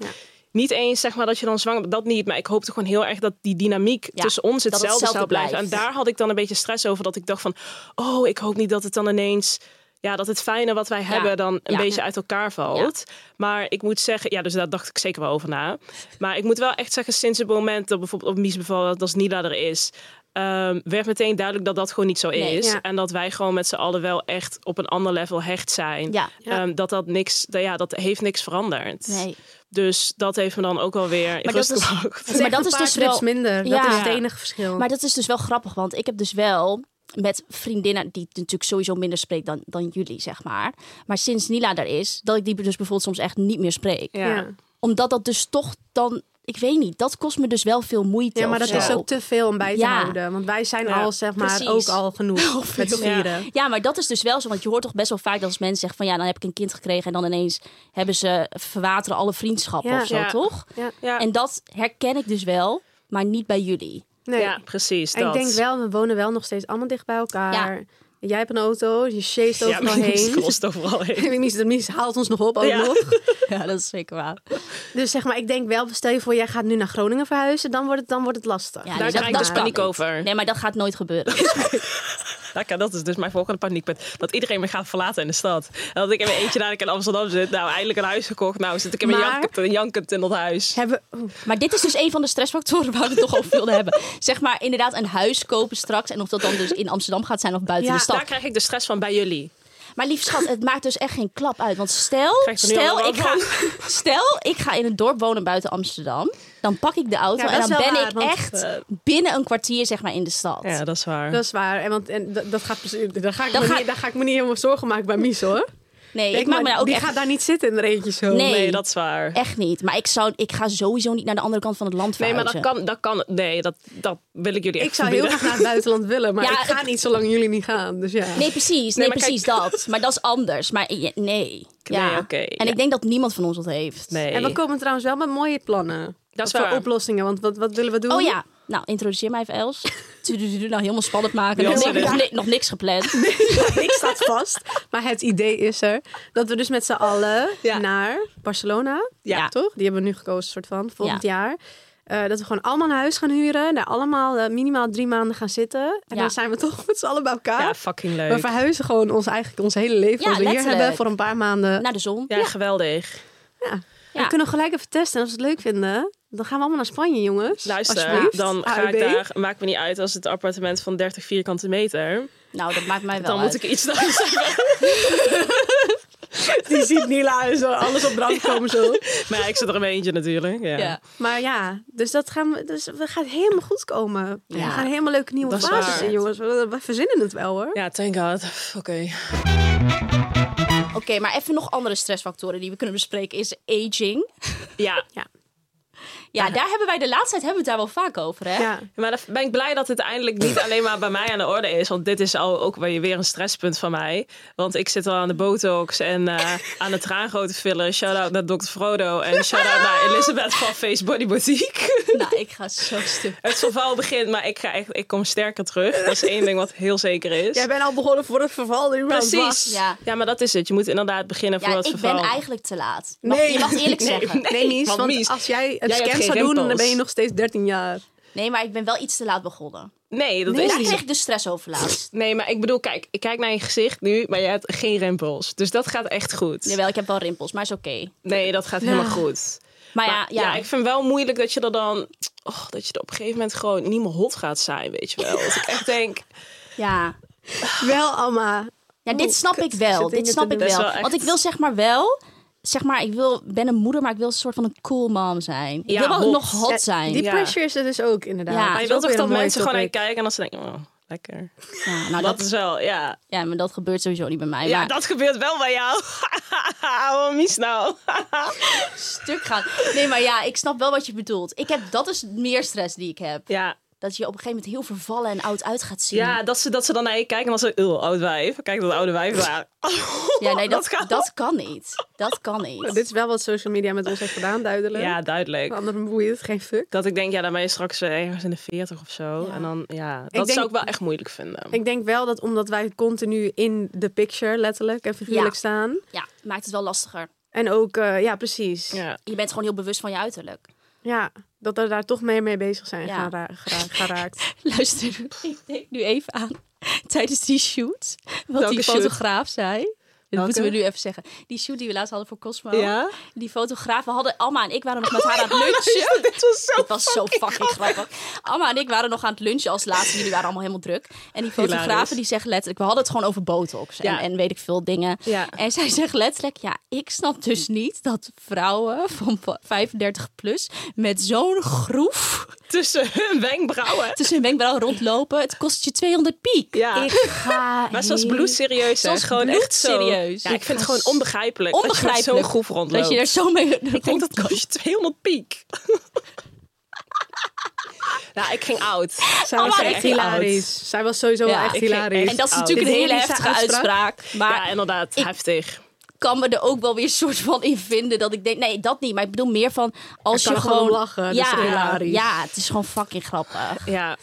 [SPEAKER 5] Niet eens zeg maar dat je dan zwanger bent, dat niet. Maar ik hoopte gewoon heel erg dat die dynamiek
[SPEAKER 3] Ja,
[SPEAKER 5] tussen ons
[SPEAKER 3] dat het
[SPEAKER 5] hetzelfde, zou
[SPEAKER 3] hetzelfde
[SPEAKER 5] blijven.
[SPEAKER 3] blijft.
[SPEAKER 5] En daar had ik dan een beetje stress over. Dat ik dacht van, oh, ik hoop niet dat het dan ineens... Ja, dat het fijne wat wij hebben dan een
[SPEAKER 3] Ja.
[SPEAKER 5] beetje uit elkaar valt. Maar ik moet zeggen, ja, dus daar dacht ik zeker wel over na. Maar ik moet wel echt zeggen, sinds het moment dat bijvoorbeeld op Mies bevallen, dat als Nila er is, ehm, werd meteen duidelijk dat dat gewoon niet zo
[SPEAKER 3] Nee.
[SPEAKER 5] is.
[SPEAKER 4] Ja.
[SPEAKER 5] En dat wij gewoon met z'n allen wel echt op een ander level hecht zijn.
[SPEAKER 3] Ja.
[SPEAKER 4] Ja.
[SPEAKER 5] Ehm, dat dat niks, dat- ja, dat heeft niks veranderd.
[SPEAKER 3] Nee.
[SPEAKER 5] Dus dat heeft me dan ook wel weer in
[SPEAKER 3] dat
[SPEAKER 5] rust
[SPEAKER 3] is-
[SPEAKER 5] gebracht.
[SPEAKER 4] (laughs) Het
[SPEAKER 3] Maar
[SPEAKER 4] is echt
[SPEAKER 3] dat
[SPEAKER 4] een
[SPEAKER 3] is
[SPEAKER 4] paar
[SPEAKER 3] dus
[SPEAKER 4] trips
[SPEAKER 3] wel-
[SPEAKER 4] minder.
[SPEAKER 3] Ja.
[SPEAKER 4] Dat is het enige verschil.
[SPEAKER 3] Maar dat is dus wel grappig, want ik heb dus wel met vriendinnen die natuurlijk sowieso minder spreekt dan, dan jullie, zeg maar. Maar sinds Nila daar is, dat ik die dus bijvoorbeeld soms echt niet meer spreek.
[SPEAKER 5] Ja.
[SPEAKER 4] ja.
[SPEAKER 3] Omdat dat dus toch dan, ik weet niet, dat kost me dus wel veel moeite.
[SPEAKER 4] Ja, maar dat
[SPEAKER 3] of zo.
[SPEAKER 4] is ook te veel om bij te
[SPEAKER 3] Ja.
[SPEAKER 4] houden. Want wij zijn
[SPEAKER 5] Ja,
[SPEAKER 4] al, zeg maar,
[SPEAKER 3] precies.
[SPEAKER 4] ook al genoeg met z'n
[SPEAKER 5] Ja.
[SPEAKER 4] vieren.
[SPEAKER 3] Ja, maar dat is dus wel zo. Want je hoort toch best wel vaak dat als mensen zeggen van ja, dan heb ik een kind gekregen en dan ineens hebben ze verwateren alle vriendschappen
[SPEAKER 4] Ja.
[SPEAKER 3] of zo,
[SPEAKER 5] Ja.
[SPEAKER 3] toch?
[SPEAKER 5] Ja,
[SPEAKER 3] En dat herken ik dus wel, maar niet bij jullie.
[SPEAKER 4] Nee.
[SPEAKER 5] ja precies.
[SPEAKER 4] En ik
[SPEAKER 5] dat.
[SPEAKER 4] denk wel, we wonen wel nog steeds allemaal dicht bij elkaar. Jij hebt een auto, je chased
[SPEAKER 5] ja, (laughs)
[SPEAKER 4] overal
[SPEAKER 5] Mies
[SPEAKER 4] (laughs) heen.
[SPEAKER 5] klost overal heen.
[SPEAKER 4] Mies, Mies haalt ons nog op ook
[SPEAKER 5] Ja. (laughs)
[SPEAKER 4] nog.
[SPEAKER 3] (laughs) Ja, dat is zeker waar.
[SPEAKER 4] Dus zeg maar, ik denk wel, stel je voor, jij gaat nu naar Groningen verhuizen. Dan wordt het, dan wordt het lastig.
[SPEAKER 3] Ja,
[SPEAKER 5] Daar
[SPEAKER 3] nee,
[SPEAKER 5] krijg ik
[SPEAKER 3] dat
[SPEAKER 5] dus
[SPEAKER 3] kan
[SPEAKER 5] paniek
[SPEAKER 3] niet.
[SPEAKER 5] over.
[SPEAKER 3] Nee, maar dat gaat nooit gebeuren.
[SPEAKER 5] Lekker, dat is dus mijn volgende paniekpunt. Dat iedereen me gaat verlaten in de stad. En dat ik in mijn eentje daar in Amsterdam zit. Nou, eindelijk een huis gekocht. Nou, zit ik in mijn
[SPEAKER 4] Maar-
[SPEAKER 5] jankend, jankend in dat huis.
[SPEAKER 4] Hebben, oh, oeh,
[SPEAKER 3] Maar dit is dus een van de stressfactoren waar we het toch over wilden hebben. Zeg maar inderdaad een huis kopen straks. En of dat dan dus in Amsterdam gaat zijn of buiten
[SPEAKER 4] Ja,
[SPEAKER 3] de
[SPEAKER 5] Dus Daar
[SPEAKER 3] stad.
[SPEAKER 5] krijg ik de stress van bij jullie.
[SPEAKER 3] Maar lief schat, het maakt dus echt geen klap uit. Want stel,
[SPEAKER 5] Krijg je er nu
[SPEAKER 3] stel,
[SPEAKER 5] al
[SPEAKER 3] ik ga,
[SPEAKER 5] warm
[SPEAKER 3] stel ik ga in een dorp wonen buiten Amsterdam. Dan pak ik de auto
[SPEAKER 4] Ja, dat
[SPEAKER 3] en
[SPEAKER 4] is
[SPEAKER 3] dan
[SPEAKER 4] wel
[SPEAKER 3] ben
[SPEAKER 4] waar,
[SPEAKER 3] ik
[SPEAKER 4] want,
[SPEAKER 3] echt
[SPEAKER 5] eh,
[SPEAKER 3] binnen een kwartier zeg maar in de stad.
[SPEAKER 5] Ja, dat is waar.
[SPEAKER 4] dat is waar. En, want, en dat, dat gaat, precies- daar, ga ik
[SPEAKER 3] Dan
[SPEAKER 4] me
[SPEAKER 3] ga-
[SPEAKER 4] niet, daar ga ik me niet helemaal zorgen maken bij Mies hoor.
[SPEAKER 3] nee, ik
[SPEAKER 4] Denk
[SPEAKER 3] maak me
[SPEAKER 4] maar,
[SPEAKER 3] daar ook
[SPEAKER 4] die
[SPEAKER 3] echt,
[SPEAKER 4] gaat daar niet zitten in de eentje zo.
[SPEAKER 3] Nee.
[SPEAKER 5] Nee, dat is waar.
[SPEAKER 3] echt niet. Maar ik, zou, ik ga sowieso niet naar de andere kant van het land
[SPEAKER 5] Nee, maar
[SPEAKER 3] verhuizen.
[SPEAKER 5] dat kan, dat kan. Nee, dat, dat wil ik jullie echt
[SPEAKER 4] Ik zou heel
[SPEAKER 5] verbieden.
[SPEAKER 4] graag naar het buitenland willen, maar
[SPEAKER 3] Ja,
[SPEAKER 4] ik ga
[SPEAKER 3] het-
[SPEAKER 4] niet zolang jullie niet gaan. Dus ja.
[SPEAKER 3] Nee, precies.
[SPEAKER 5] Nee,
[SPEAKER 3] Nee,
[SPEAKER 5] maar
[SPEAKER 3] precies dat. Maar dat is anders. Maar ja, nee. Ja.
[SPEAKER 5] oké,
[SPEAKER 3] en
[SPEAKER 5] ja.
[SPEAKER 3] ik denk dat niemand van ons dat heeft.
[SPEAKER 5] Nee.
[SPEAKER 4] En we komen trouwens wel met mooie plannen.
[SPEAKER 5] Dat is
[SPEAKER 4] Voor
[SPEAKER 5] waar.
[SPEAKER 4] oplossingen, want wat, wat willen we doen?
[SPEAKER 3] Oh ja, nou introduceer mij even Els. Tudududu, Nou helemaal spannend maken.
[SPEAKER 5] Ja,
[SPEAKER 3] Nog,
[SPEAKER 5] sorry.
[SPEAKER 3] niks- nog, ni- nog niks gepland.
[SPEAKER 4] niks staat vast. Maar het idee is er dat we dus met z'n allen
[SPEAKER 5] Ja.
[SPEAKER 4] naar Barcelona,
[SPEAKER 3] Ja.
[SPEAKER 4] toch? Die hebben we nu gekozen, soort van, volgend jaar. Eh, dat we gewoon allemaal een huis gaan huren. Daar allemaal eh, minimaal drie maanden gaan zitten. En
[SPEAKER 3] Ja.
[SPEAKER 4] dan zijn we toch met z'n allen bij elkaar.
[SPEAKER 5] Ja, fucking
[SPEAKER 4] we
[SPEAKER 5] leuk.
[SPEAKER 4] verhuizen gewoon ons, eigenlijk ons hele leven.
[SPEAKER 3] Ja,
[SPEAKER 4] wat we hier
[SPEAKER 3] letterlijk.
[SPEAKER 4] hebben voor een paar maanden.
[SPEAKER 5] Nou,
[SPEAKER 3] Naar de zon.
[SPEAKER 5] Ja, geweldig.
[SPEAKER 4] We kunnen gelijk even testen. En als we het leuk vinden, dan gaan we allemaal naar Spanje, jongens.
[SPEAKER 5] Luister,
[SPEAKER 4] Alsjeblieft.
[SPEAKER 5] dan ga ik
[SPEAKER 4] AUB.
[SPEAKER 5] daar. Maakt me niet uit als het appartement van 30 vierkante meter.
[SPEAKER 3] Nou, dat maakt mij wel
[SPEAKER 5] Dan
[SPEAKER 3] uit.
[SPEAKER 5] moet ik iets (laughs) daar zeggen.
[SPEAKER 4] (laughs) Die ziet Nila en zo alles op
[SPEAKER 5] (laughs)
[SPEAKER 4] brand komen zo.
[SPEAKER 5] Maar ja, ik zit er in mijn eentje natuurlijk. Ja.
[SPEAKER 3] Ja.
[SPEAKER 4] Maar ja, dus dat gaan we, dus we gaan helemaal goed komen.
[SPEAKER 3] Ja.
[SPEAKER 4] We gaan helemaal leuke nieuwe
[SPEAKER 5] Dat is
[SPEAKER 4] fases
[SPEAKER 5] waar.
[SPEAKER 4] in, jongens. We, we verzinnen het wel, hoor.
[SPEAKER 5] Ja, thank god. Oké.
[SPEAKER 3] Oké, maar even nog andere stressfactoren die we kunnen bespreken is aging.
[SPEAKER 5] Ja,
[SPEAKER 3] Ja, daar hebben wij de laatste tijd hebben we het daar wel vaak over, hè?
[SPEAKER 4] Ja.
[SPEAKER 5] Maar dan ben ik blij dat het eindelijk niet alleen maar bij mij aan de orde is. Want dit is al ook weer weer een stresspunt van mij. Want ik zit al aan de botox en (laughs) eh, aan de traangotenfiller. Shout-out naar Dr. Frodo. En shout-out (laughs) naar Elisabeth van Face Body Boutique.
[SPEAKER 3] (laughs)
[SPEAKER 5] (laughs)
[SPEAKER 3] Nou, ik ga zo stuk.
[SPEAKER 5] Het verval begint, maar ik, ga echt, ik kom sterker terug. Dat is één ding wat heel zeker is.
[SPEAKER 4] Jij bent al begonnen voor het verval. dus nu maar
[SPEAKER 5] Precies.
[SPEAKER 4] wacht.
[SPEAKER 3] Ja.
[SPEAKER 5] Ja. maar dat is het. Je moet inderdaad beginnen voor
[SPEAKER 3] Ja, ik
[SPEAKER 5] het verval.
[SPEAKER 3] ben eigenlijk te laat. Mag, Je mag eerlijk zeggen. Nee.
[SPEAKER 4] (laughs) Nee, Mies,
[SPEAKER 5] want
[SPEAKER 4] want,
[SPEAKER 5] Mies,
[SPEAKER 4] als jij een
[SPEAKER 5] jij hebt
[SPEAKER 4] scan
[SPEAKER 5] geen
[SPEAKER 4] zou doen, dan
[SPEAKER 5] rimpels.
[SPEAKER 4] ben je nog steeds 13 jaar.
[SPEAKER 3] maar ik ben wel iets te laat begonnen.
[SPEAKER 5] Nee, dat
[SPEAKER 3] Dus
[SPEAKER 5] is
[SPEAKER 3] daar
[SPEAKER 5] niet zo.
[SPEAKER 3] kreeg ik de stress over laatst.
[SPEAKER 5] (laughs) Nee, maar ik bedoel, kijk, ik kijk naar je gezicht nu, maar je hebt geen rimpels. Dus dat gaat echt goed.
[SPEAKER 3] Jawel, ik heb wel rimpels, maar is oké.
[SPEAKER 5] Nee, dat gaat helemaal goed.
[SPEAKER 3] Maar ja,
[SPEAKER 5] Maar
[SPEAKER 3] ja,
[SPEAKER 5] ik vind wel moeilijk dat je er dan... Och, dat je er op een gegeven moment gewoon niet meer hot gaat zijn, weet je wel. Dat ik echt denk...
[SPEAKER 3] ja.
[SPEAKER 4] Wel, Alma.
[SPEAKER 3] Ja, dit
[SPEAKER 4] Oeh,
[SPEAKER 3] snap
[SPEAKER 4] kut.
[SPEAKER 3] ik
[SPEAKER 4] Ik
[SPEAKER 3] wel.
[SPEAKER 4] zit
[SPEAKER 3] Dit
[SPEAKER 4] dingen
[SPEAKER 3] snap
[SPEAKER 4] te
[SPEAKER 3] ik
[SPEAKER 5] doen.
[SPEAKER 3] wel.
[SPEAKER 5] Dat is wel
[SPEAKER 3] Want ik
[SPEAKER 5] echt-
[SPEAKER 3] wil zeg maar wel. Zeg maar, ik wil, ben een moeder, maar ik wil een soort van een cool mom zijn. Ik
[SPEAKER 5] Ja,
[SPEAKER 3] wil wel
[SPEAKER 5] hot.
[SPEAKER 3] nog hot
[SPEAKER 4] Ja,
[SPEAKER 3] zijn.
[SPEAKER 4] Die
[SPEAKER 5] Ja.
[SPEAKER 4] pressure is er dus ook, inderdaad.
[SPEAKER 3] Ja.
[SPEAKER 5] maar
[SPEAKER 3] dat
[SPEAKER 5] je
[SPEAKER 4] is
[SPEAKER 5] wilt toch
[SPEAKER 4] ook weer
[SPEAKER 5] dat
[SPEAKER 4] een mooie
[SPEAKER 5] mensen gewoon naar je
[SPEAKER 4] topic.
[SPEAKER 5] kijken en dan ze denken... Oh, lekker.
[SPEAKER 3] Ja, nou,
[SPEAKER 5] Dat
[SPEAKER 3] dat,
[SPEAKER 5] is wel, ja.
[SPEAKER 3] ja, maar dat gebeurt sowieso niet bij mij.
[SPEAKER 5] Ja,
[SPEAKER 3] maar
[SPEAKER 5] dat gebeurt wel bij jou. (laughs) Wat mis nou?
[SPEAKER 3] stuk gaan. Nee, maar ja, ik snap wel wat je bedoelt. Ik heb, dat is meer stress die ik heb.
[SPEAKER 5] ja.
[SPEAKER 3] Dat je op een gegeven moment heel vervallen en oud uit gaat zien.
[SPEAKER 5] Ja, dat ze, dat ze dan naar je kijken en dan zo... Oh, oud wijf. Kijk dat oude wijf daar. (laughs)
[SPEAKER 3] Ja, nee, dat,
[SPEAKER 5] dat kan.
[SPEAKER 3] dat, kan niet. Dat kan
[SPEAKER 4] Nou,
[SPEAKER 3] niet.
[SPEAKER 4] Dit is wel wat social media met ons heeft gedaan, duidelijk.
[SPEAKER 5] Ja,
[SPEAKER 4] Ja.
[SPEAKER 5] duidelijk.
[SPEAKER 4] Anderen boeien het geen fuck.
[SPEAKER 5] Dat ik denk, ja, dan ben je straks eh, ergens in de 40 of zo. En dan, ja, dat
[SPEAKER 4] denk-
[SPEAKER 5] zou ik wel echt moeilijk vinden.
[SPEAKER 4] Ik denk wel dat omdat wij continu in de picture, letterlijk en figuurlijk
[SPEAKER 3] Ja.
[SPEAKER 4] staan.
[SPEAKER 3] Ja, maakt het wel lastiger.
[SPEAKER 4] En ook, eh, ja, precies.
[SPEAKER 5] ja.
[SPEAKER 3] Je bent gewoon heel bewust van je uiterlijk.
[SPEAKER 4] Ja, dat we daar toch mee mee bezig zijn
[SPEAKER 3] Ja.
[SPEAKER 4] gera- gera-
[SPEAKER 5] (laughs)
[SPEAKER 4] geraakt.
[SPEAKER 3] (laughs) Luister, ik denk nu even aan (laughs) tijdens die shoot. Wat
[SPEAKER 5] Welke
[SPEAKER 3] die
[SPEAKER 5] shoot?
[SPEAKER 3] fotograaf zei. Dat moeten we
[SPEAKER 4] Welke?
[SPEAKER 3] nu even zeggen. Die shoot die we laatst hadden voor Cosmo.
[SPEAKER 4] Ja?
[SPEAKER 3] Die fotograaf. We hadden Alma en ik waren nog met haar aan het lunchen.
[SPEAKER 5] Dit was zo
[SPEAKER 3] Het Oh, was zo fucking grappig. Alma en ik waren nog aan het lunchen als laatste. Jullie waren allemaal helemaal druk. En die fotografen
[SPEAKER 5] Hilarisch.
[SPEAKER 3] die zeggen letterlijk... We hadden het gewoon over botox en,
[SPEAKER 5] Ja.
[SPEAKER 3] en weet ik veel dingen.
[SPEAKER 4] Ja.
[SPEAKER 3] En zij zegt letterlijk... Ja, ik snap dus niet dat vrouwen van 35 plus... met zo'n groef
[SPEAKER 5] (laughs) tussen hun wenkbrauwen.
[SPEAKER 3] tussen hun wenkbrauw rondlopen... Het kost je 200 piek.
[SPEAKER 5] Ja.
[SPEAKER 3] Ik ga
[SPEAKER 5] (laughs) Maar zoals bloed serieus,
[SPEAKER 3] Zoals
[SPEAKER 5] hè? gewoon echt zo.
[SPEAKER 3] bloedserieus.
[SPEAKER 5] Ja, ik vind het
[SPEAKER 3] was
[SPEAKER 5] gewoon onbegrijpelijk. Dat je
[SPEAKER 3] Onbegrijpelijk.
[SPEAKER 5] met zo'n groef rondloopt.
[SPEAKER 3] Dat je er zo mee
[SPEAKER 5] Ik denk dat kost je 200 piek. nou, ik ging oud.
[SPEAKER 4] Zij
[SPEAKER 3] Allemaal
[SPEAKER 4] was
[SPEAKER 3] echt
[SPEAKER 4] echt
[SPEAKER 3] hilarisch.
[SPEAKER 4] hilarisch. Zij was sowieso wel
[SPEAKER 3] Ja,
[SPEAKER 4] echt
[SPEAKER 5] ik ging
[SPEAKER 4] hilarisch.
[SPEAKER 5] echt
[SPEAKER 3] En dat is natuurlijk een
[SPEAKER 4] Dit
[SPEAKER 3] hele
[SPEAKER 4] is
[SPEAKER 3] heftige uitspraak. Maar
[SPEAKER 5] ja, inderdaad,
[SPEAKER 3] ik-
[SPEAKER 5] heftig.
[SPEAKER 3] kan me er ook wel weer een soort van in vinden dat ik denk, nee, dat niet. Maar ik bedoel meer van als
[SPEAKER 4] Ik kan
[SPEAKER 3] je
[SPEAKER 4] er gewoon
[SPEAKER 3] gewoon
[SPEAKER 4] om lachen, dat is
[SPEAKER 3] Ja,
[SPEAKER 4] toch hilarisch?
[SPEAKER 3] ja, het is gewoon fucking grappig.
[SPEAKER 5] Ja.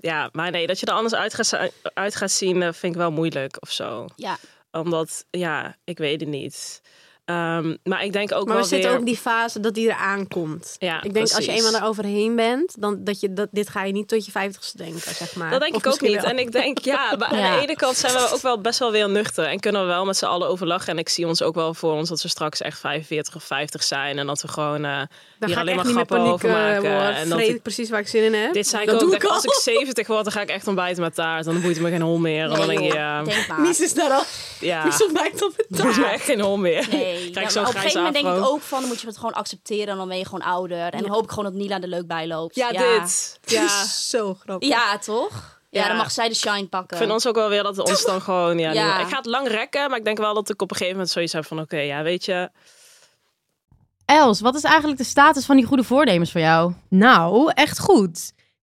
[SPEAKER 5] ja, maar nee, dat je er anders uit gaat, zi- uit gaat zien, eh, vind ik wel moeilijk of zo.
[SPEAKER 3] Ja,
[SPEAKER 5] Omdat, ja, ik weet het niet. Ehm, maar ik denk ook
[SPEAKER 4] Maar we
[SPEAKER 5] wel
[SPEAKER 4] zitten
[SPEAKER 5] weer...
[SPEAKER 4] ook in die fase dat die eraan komt.
[SPEAKER 5] Ja,
[SPEAKER 4] ik denk als je
[SPEAKER 5] precies.
[SPEAKER 4] eenmaal eroverheen bent, dan dat je dat, dit ga je niet tot je vijftigste denken, zeg maar.
[SPEAKER 5] Dat denk
[SPEAKER 4] Of
[SPEAKER 5] ik ook
[SPEAKER 4] misschien
[SPEAKER 5] niet.
[SPEAKER 4] wel.
[SPEAKER 5] En ik denk,
[SPEAKER 4] (laughs)
[SPEAKER 5] ja, maar aan
[SPEAKER 3] Ja.
[SPEAKER 5] de ene kant zijn we ook wel best wel weer nuchter. En kunnen we wel met z'n allen overlachen. En ik zie ons ook wel voor ons dat we straks echt 45 of 50 zijn. En dat we gewoon eh
[SPEAKER 4] Daar
[SPEAKER 5] hier
[SPEAKER 4] ga ik
[SPEAKER 5] alleen
[SPEAKER 4] echt
[SPEAKER 5] maar
[SPEAKER 4] niet meer
[SPEAKER 5] grappen
[SPEAKER 4] paniek
[SPEAKER 5] over
[SPEAKER 4] eh,
[SPEAKER 5] maken.
[SPEAKER 4] worden.
[SPEAKER 5] en dat
[SPEAKER 4] Vreet
[SPEAKER 5] ik-
[SPEAKER 4] ik precies waar ik zin in heb.
[SPEAKER 5] dit zei ik
[SPEAKER 4] dat
[SPEAKER 5] ook.
[SPEAKER 4] doe
[SPEAKER 5] denk,
[SPEAKER 4] ik al.
[SPEAKER 5] als ik 70 word, dan ga ik echt ontbijten met taart. Dan boeit het me geen hol meer. En
[SPEAKER 3] Nee,
[SPEAKER 5] dan denk je,
[SPEAKER 3] joh,
[SPEAKER 5] ja,
[SPEAKER 3] denk maar.
[SPEAKER 4] Mies is daar al.
[SPEAKER 5] ja, (laughs)
[SPEAKER 4] Mies ontbijt op het
[SPEAKER 5] boeit me
[SPEAKER 4] taart.
[SPEAKER 5] echt geen hol meer.
[SPEAKER 3] Nee,
[SPEAKER 5] Krijg ik
[SPEAKER 3] ja,
[SPEAKER 5] zo'n
[SPEAKER 3] maar op een
[SPEAKER 5] grijze
[SPEAKER 3] gegeven moment denk ik
[SPEAKER 5] afro.
[SPEAKER 3] ook van, dan moet je het gewoon accepteren en dan ben je gewoon ouder. En dan hoop ik gewoon dat Nila er leuk bij loopt.
[SPEAKER 5] Ja, dit. Ja.
[SPEAKER 4] Zo grappig.
[SPEAKER 3] Ja, toch? Ja,
[SPEAKER 5] Ja.
[SPEAKER 3] dan mag zij de shine pakken.
[SPEAKER 5] Ik vind ons ook wel weer dat we ons
[SPEAKER 3] (laughs)
[SPEAKER 5] dan gewoon... Ja,
[SPEAKER 3] eh, Ja.
[SPEAKER 5] nu- Ik ga het lang rekken, maar ik denk wel dat ik op een gegeven moment zoiets heb van... Oké, ja, weet je...
[SPEAKER 7] Els, wat is eigenlijk de status van die goede voornemens voor jou?
[SPEAKER 6] Nou, echt goed. Ik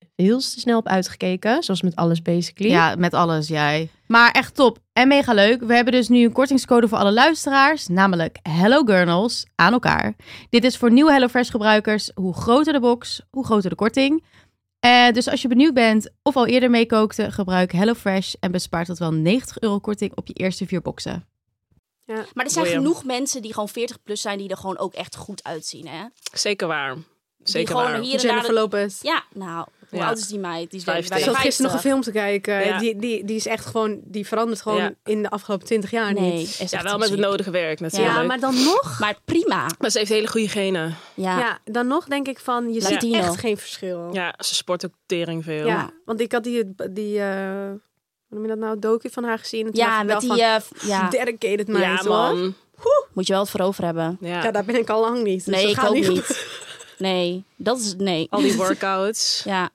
[SPEAKER 6] heel te snel op uitgekeken. Zoals met alles basically.
[SPEAKER 7] Ja, met alles, jij. Maar echt top en mega leuk. We hebben dus nu een kortingscode voor alle luisteraars, namelijk Hello Gurnals aan elkaar. Dit is voor nieuwe HelloFresh gebruikers. Hoe groter de box, hoe groter de korting. Eh, dus als je benieuwd bent of al eerder meekookte, gebruik HelloFresh en bespaart tot wel 90 euro korting op je eerste vier boxen.
[SPEAKER 3] Maar er zijn
[SPEAKER 5] Boeien.
[SPEAKER 3] genoeg mensen die gewoon 40 plus zijn die er gewoon ook echt goed uitzien, hè?
[SPEAKER 5] Zeker waar.
[SPEAKER 3] die
[SPEAKER 5] Zeker
[SPEAKER 3] gewoon
[SPEAKER 5] waar.
[SPEAKER 3] hier en daar...
[SPEAKER 4] Jennifer Lopez.
[SPEAKER 3] Ja, nou, hoe
[SPEAKER 5] Ja.
[SPEAKER 3] oud is die meid? Die is bijna
[SPEAKER 4] Ik zat gisteren nog
[SPEAKER 3] 50.
[SPEAKER 4] een film te kijken.
[SPEAKER 5] Ja.
[SPEAKER 4] Die, die, die is echt gewoon, die verandert gewoon
[SPEAKER 5] Ja.
[SPEAKER 4] in de afgelopen 20 jaar
[SPEAKER 3] Nee,
[SPEAKER 4] niet.
[SPEAKER 3] is echt
[SPEAKER 5] Ja, wel met het
[SPEAKER 3] ziek.
[SPEAKER 5] nodige werk
[SPEAKER 4] Ja,
[SPEAKER 5] natuurlijk. maar...
[SPEAKER 4] maar dan nog.
[SPEAKER 3] Maar prima.
[SPEAKER 5] ze heeft hele goede genen.
[SPEAKER 3] Ja.
[SPEAKER 4] Ja. dan nog denk ik van, je
[SPEAKER 3] Ja.
[SPEAKER 4] ziet
[SPEAKER 3] Latino.
[SPEAKER 4] echt geen verschil.
[SPEAKER 5] Ja, ze sport ook tering veel.
[SPEAKER 4] Ja, want ik had die, die eh, hoe noem je dat nou, docu van haar gezien. En toen dacht
[SPEAKER 3] Ja,
[SPEAKER 4] ik
[SPEAKER 3] met
[SPEAKER 4] wel
[SPEAKER 3] die...
[SPEAKER 4] van,
[SPEAKER 3] eh, f- ja.
[SPEAKER 4] (laughs) dedicated meid,
[SPEAKER 5] Ja,
[SPEAKER 4] hoor.
[SPEAKER 5] man.
[SPEAKER 3] Moet je wel het voor over hebben.
[SPEAKER 5] Ja.
[SPEAKER 4] Ja, daar ben ik al lang niet. Dus
[SPEAKER 3] nee,
[SPEAKER 4] dat
[SPEAKER 3] ik
[SPEAKER 4] gaat
[SPEAKER 3] ook
[SPEAKER 4] niet.
[SPEAKER 3] niet. Nee, dat is... Nee.
[SPEAKER 5] Al die workouts.
[SPEAKER 3] (laughs) Ja.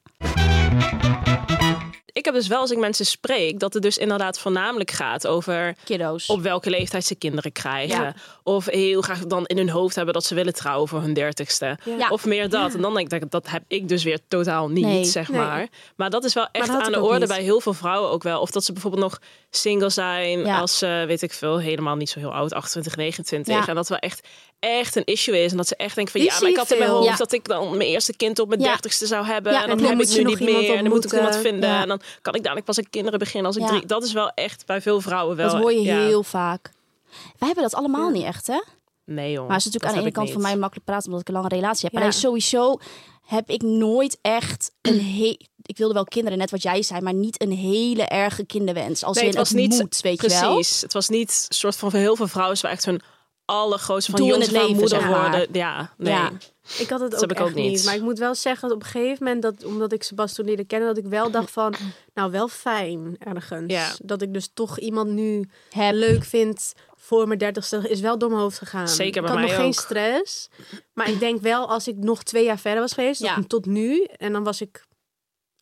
[SPEAKER 5] Ik heb dus wel, als ik mensen spreek, dat het dus inderdaad voornamelijk gaat over
[SPEAKER 3] kiddo's.
[SPEAKER 5] op welke leeftijd ze kinderen krijgen.
[SPEAKER 3] Ja.
[SPEAKER 5] Of heel graag dan in hun hoofd hebben dat ze willen trouwen voor hun dertigste.
[SPEAKER 3] Ja.
[SPEAKER 5] Of meer dat. En dan denk ik, dat, dat heb ik dus weer totaal niet,
[SPEAKER 3] Nee.
[SPEAKER 5] zeg
[SPEAKER 4] Nee.
[SPEAKER 5] maar. Maar dat is wel echt
[SPEAKER 4] dat had
[SPEAKER 5] aan
[SPEAKER 4] ik
[SPEAKER 5] de
[SPEAKER 4] ook
[SPEAKER 5] orde
[SPEAKER 4] niet.
[SPEAKER 5] bij heel veel vrouwen ook wel. Of dat ze bijvoorbeeld nog single zijn
[SPEAKER 3] Ja.
[SPEAKER 5] als ze, weet ik veel, helemaal niet zo heel oud, 28, 29.
[SPEAKER 3] Ja.
[SPEAKER 5] En dat wel echt, echt een issue is. En dat ze echt denken van,
[SPEAKER 4] Die
[SPEAKER 5] ja,
[SPEAKER 4] zie
[SPEAKER 5] maar ik
[SPEAKER 4] ik
[SPEAKER 5] had in mijn
[SPEAKER 4] veel.
[SPEAKER 5] hoofd
[SPEAKER 3] Ja.
[SPEAKER 5] dat ik dan mijn eerste kind op mijn
[SPEAKER 3] Ja.
[SPEAKER 5] dertigste zou hebben.
[SPEAKER 3] Ja,
[SPEAKER 5] en
[SPEAKER 3] en
[SPEAKER 5] dat
[SPEAKER 3] dan
[SPEAKER 5] heb
[SPEAKER 3] moet
[SPEAKER 5] ik
[SPEAKER 4] je
[SPEAKER 5] nu niet
[SPEAKER 4] nog iemand
[SPEAKER 5] meer. En dan moet ik
[SPEAKER 4] ontmoeten.
[SPEAKER 5] iemand vinden.
[SPEAKER 3] Ja.
[SPEAKER 5] En dan kan ik dadelijk pas aan kinderen beginnen als ik
[SPEAKER 3] Ja.
[SPEAKER 5] drie... Dat is wel echt bij veel vrouwen wel...
[SPEAKER 3] dat hoor je
[SPEAKER 5] ja.
[SPEAKER 3] heel vaak. Wij hebben dat allemaal niet echt, hè?
[SPEAKER 5] Nee, joh.
[SPEAKER 3] Maar het is natuurlijk
[SPEAKER 5] Oh, dat
[SPEAKER 3] aan de ene
[SPEAKER 5] heb ik
[SPEAKER 3] kant voor
[SPEAKER 5] niet.
[SPEAKER 3] mij makkelijk praten omdat ik een lange relatie heb.
[SPEAKER 4] Ja.
[SPEAKER 3] Maar nee, sowieso heb ik nooit echt een he- Ik wilde wel kinderen, net wat jij zei, maar niet een hele erge kinderwens. Als
[SPEAKER 5] Nee,
[SPEAKER 3] in
[SPEAKER 5] het was
[SPEAKER 3] het
[SPEAKER 5] niet-
[SPEAKER 3] moet, weet je wel.
[SPEAKER 5] Precies. Het was niet een soort van voor heel veel vrouwen is wel echt hun allergrootste van
[SPEAKER 3] Doel in
[SPEAKER 5] jongens
[SPEAKER 3] het
[SPEAKER 5] van
[SPEAKER 3] leven,
[SPEAKER 5] moeder
[SPEAKER 3] zeg maar.
[SPEAKER 5] worden. Ja, nee.
[SPEAKER 3] Ja.
[SPEAKER 4] Ik had het
[SPEAKER 5] Dat
[SPEAKER 4] ook,
[SPEAKER 5] heb ik ook
[SPEAKER 4] echt niet.
[SPEAKER 5] niet.
[SPEAKER 4] Maar ik moet wel zeggen dat op een gegeven moment, dat, omdat ik Sebastian leerde kennen, dat ik wel dacht
[SPEAKER 5] (clears throat)
[SPEAKER 4] van, nou wel fijn ergens.
[SPEAKER 5] Ja.
[SPEAKER 4] Dat ik dus toch iemand nu
[SPEAKER 3] Heb-
[SPEAKER 4] leuk vind voor mijn dertigste is wel door mijn hoofd gegaan.
[SPEAKER 5] Zeker bij
[SPEAKER 4] ik had
[SPEAKER 5] mij
[SPEAKER 4] nog geen
[SPEAKER 5] ook.
[SPEAKER 4] stress. Maar ik denk wel, als ik nog twee jaar verder was geweest,
[SPEAKER 3] Ja.
[SPEAKER 4] tot, tot nu, en dan was ik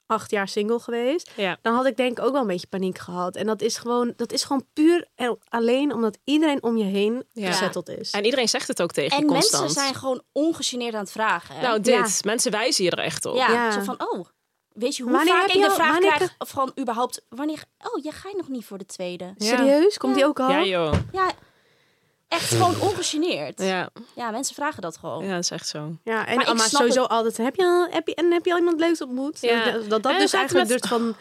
[SPEAKER 4] acht jaar single geweest,
[SPEAKER 5] Ja.
[SPEAKER 4] dan had ik denk ik ook wel een beetje paniek gehad. En dat is gewoon, dat is gewoon puur en alleen omdat iedereen om je heen
[SPEAKER 5] Ja.
[SPEAKER 4] gezetteld is.
[SPEAKER 5] En iedereen zegt het ook tegen je
[SPEAKER 3] En
[SPEAKER 5] constant.
[SPEAKER 3] mensen zijn gewoon ongegeneerd aan het vragen. hè?
[SPEAKER 5] Nou, dit. Mensen wijzen je er echt op.
[SPEAKER 3] ja,
[SPEAKER 4] Ja.
[SPEAKER 3] zo van, oh, weet je hoe
[SPEAKER 4] Wanneer
[SPEAKER 3] vaak
[SPEAKER 4] heb
[SPEAKER 3] ik
[SPEAKER 4] je
[SPEAKER 3] de
[SPEAKER 4] al-
[SPEAKER 3] vraag
[SPEAKER 4] wanneer
[SPEAKER 3] krijg van überhaupt, wanneer, oh, jij ga je nog niet voor de tweede.
[SPEAKER 5] Ja.
[SPEAKER 4] Serieus? Komt die ook al?
[SPEAKER 5] Ja, joh.
[SPEAKER 3] Ja, echt gewoon ongegeneerd. Ja.
[SPEAKER 5] Ja.
[SPEAKER 3] mensen vragen dat gewoon.
[SPEAKER 5] ja, dat is echt zo.
[SPEAKER 4] Ja, en
[SPEAKER 3] Maar ik
[SPEAKER 4] maar,
[SPEAKER 3] snap
[SPEAKER 4] sowieso altijd. Heb je, al, heb, je, en heb je al iemand leuks ontmoet?
[SPEAKER 5] Ja.
[SPEAKER 4] Dat, dat, dat
[SPEAKER 5] En
[SPEAKER 4] dus
[SPEAKER 5] zaten
[SPEAKER 4] eigenlijk
[SPEAKER 5] met-
[SPEAKER 4] dus van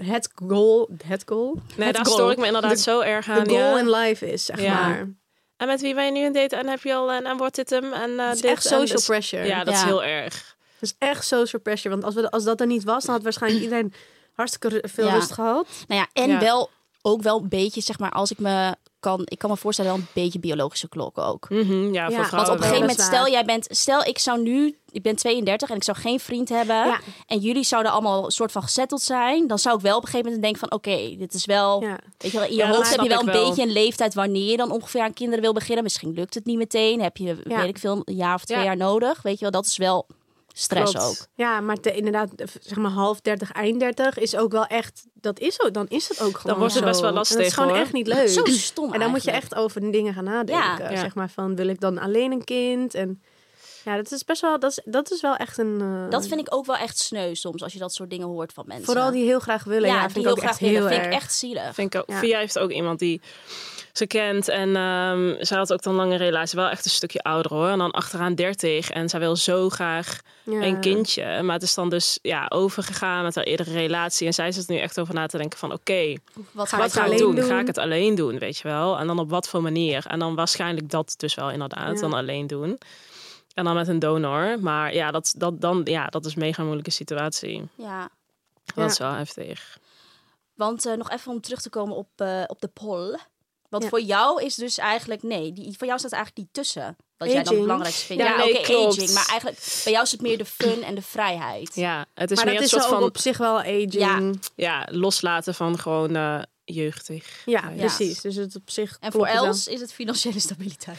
[SPEAKER 4] het goal, het goal,
[SPEAKER 5] Nee,
[SPEAKER 4] Het
[SPEAKER 5] daar
[SPEAKER 4] goal.
[SPEAKER 5] stoor ik me inderdaad
[SPEAKER 4] De-
[SPEAKER 5] zo erg aan.
[SPEAKER 4] de goal
[SPEAKER 5] ja.
[SPEAKER 4] in life is, zeg
[SPEAKER 5] Ja.
[SPEAKER 4] maar.
[SPEAKER 5] En met wie ben je nu een date en heb je al en, en wordt dit hem en eh
[SPEAKER 4] Het is
[SPEAKER 5] dit
[SPEAKER 4] echt
[SPEAKER 5] en-
[SPEAKER 4] social
[SPEAKER 5] dus-
[SPEAKER 4] pressure.
[SPEAKER 5] Ja, dat is
[SPEAKER 3] Ja.
[SPEAKER 5] heel erg.
[SPEAKER 4] Dat is echt social pressure. Want als, we, als dat er niet was, dan had waarschijnlijk iedereen hartstikke ru- veel
[SPEAKER 3] Ja.
[SPEAKER 4] rust gehad.
[SPEAKER 3] Nou ja, en
[SPEAKER 5] Ja.
[SPEAKER 3] wel ook wel een beetje, zeg maar, als ik me kan, ik kan me voorstellen, wel een beetje biologische klokken ook.
[SPEAKER 5] Mhm, ja,
[SPEAKER 4] Ja,
[SPEAKER 5] voor
[SPEAKER 4] want
[SPEAKER 3] Want
[SPEAKER 5] vrouwen
[SPEAKER 3] op een gegeven
[SPEAKER 5] wel.
[SPEAKER 3] moment,
[SPEAKER 4] Oh, dat is waar.
[SPEAKER 3] stel jij bent, stel ik zou nu, ik ben 32 en ik zou geen vriend hebben.
[SPEAKER 4] Ja.
[SPEAKER 3] En jullie zouden allemaal een soort van gezetteld zijn. Dan zou ik wel op een gegeven moment denken van, oké, dit is wel,
[SPEAKER 4] Ja.
[SPEAKER 3] weet je wel, in je
[SPEAKER 5] Ja, dat
[SPEAKER 3] hoofd heb
[SPEAKER 5] snap
[SPEAKER 3] je wel
[SPEAKER 5] ik
[SPEAKER 3] een
[SPEAKER 5] wel.
[SPEAKER 3] beetje een leeftijd wanneer je dan ongeveer aan kinderen wil beginnen. Misschien lukt het niet meteen. Heb je,
[SPEAKER 4] Ja.
[SPEAKER 3] weet ik veel, een jaar of twee
[SPEAKER 5] Ja.
[SPEAKER 3] jaar nodig. Weet je wel, dat is wel stress
[SPEAKER 5] Klopt.
[SPEAKER 3] ook.
[SPEAKER 4] Ja, maar te- inderdaad, zeg maar half 30, eind 30 is ook wel echt. Dat is zo, dan is het ook gewoon.
[SPEAKER 5] wordt het
[SPEAKER 4] zo.
[SPEAKER 5] best wel
[SPEAKER 4] En dat
[SPEAKER 5] lastig,
[SPEAKER 4] is gewoon
[SPEAKER 5] hoor.
[SPEAKER 4] echt niet leuk.
[SPEAKER 3] Zo stom
[SPEAKER 4] En dan moet je
[SPEAKER 3] eigenlijk.
[SPEAKER 4] echt over dingen gaan nadenken.
[SPEAKER 3] Ja.
[SPEAKER 5] Ja.
[SPEAKER 4] Zeg maar van wil ik dan alleen een kind? En ja, dat is best wel. Dat is, dat is wel echt een. eh,
[SPEAKER 3] Dat vind ik ook wel echt sneu soms, als je dat soort dingen hoort van mensen.
[SPEAKER 4] Vooral die heel graag willen. Ja,
[SPEAKER 3] ja,
[SPEAKER 4] vind
[SPEAKER 3] die
[SPEAKER 4] ik
[SPEAKER 3] heel
[SPEAKER 4] ook
[SPEAKER 3] graag
[SPEAKER 4] echt
[SPEAKER 3] willen.
[SPEAKER 4] heel
[SPEAKER 3] vind ik
[SPEAKER 4] erg.
[SPEAKER 3] echt zielig.
[SPEAKER 5] Vind ik ook.
[SPEAKER 4] Ja.
[SPEAKER 5] Via heeft ook iemand die ze kent. En ehm zij had ook dan lange relatie. Wel echt een stukje ouder hoor. En dan achteraan 30. En zij wil zo graag
[SPEAKER 4] Ja.
[SPEAKER 5] een kindje. Maar het is dan dus ja, overgegaan met haar eerdere relatie. En zij zit er nu echt over na te denken van oké,
[SPEAKER 3] Wat ga
[SPEAKER 4] Ga ik
[SPEAKER 5] wat
[SPEAKER 3] ik
[SPEAKER 5] ga ik
[SPEAKER 4] alleen
[SPEAKER 5] doen?
[SPEAKER 4] doen?
[SPEAKER 5] Ga ik het alleen doen, weet je wel? En dan op wat voor manier? En dan waarschijnlijk dat dus wel inderdaad,
[SPEAKER 4] Ja.
[SPEAKER 5] dan alleen doen. En dan met een donor. Maar ja, dat, dat, dan, ja, dat is een mega moeilijke situatie.
[SPEAKER 3] Ja,
[SPEAKER 5] Dat
[SPEAKER 4] Ja.
[SPEAKER 5] is wel heftig.
[SPEAKER 3] want eh, nog even om terug te komen op, eh, op de poll. Want
[SPEAKER 4] Ja.
[SPEAKER 3] voor jou is dus eigenlijk, nee, die, voor jou staat eigenlijk die tussen. Wat jij dan
[SPEAKER 4] Aging.
[SPEAKER 3] het belangrijkste vindt.
[SPEAKER 5] Ja,
[SPEAKER 3] Ja,
[SPEAKER 5] nee,
[SPEAKER 3] oké,
[SPEAKER 5] klopt.
[SPEAKER 3] aging. Maar eigenlijk, bij jou is het meer de fun en de vrijheid.
[SPEAKER 5] Ja, het is
[SPEAKER 4] Maar
[SPEAKER 5] meer
[SPEAKER 4] dat
[SPEAKER 5] een
[SPEAKER 4] is
[SPEAKER 5] soort
[SPEAKER 4] wel
[SPEAKER 5] van
[SPEAKER 4] op zich wel aging.
[SPEAKER 3] Ja.
[SPEAKER 4] Ja,
[SPEAKER 5] ja, loslaten van gewoon eh, jeugdig. Ja.
[SPEAKER 4] precies. Dus het op zich.
[SPEAKER 3] En
[SPEAKER 4] klopt
[SPEAKER 3] voor
[SPEAKER 4] het wel.
[SPEAKER 3] Els is het financiële stabiliteit.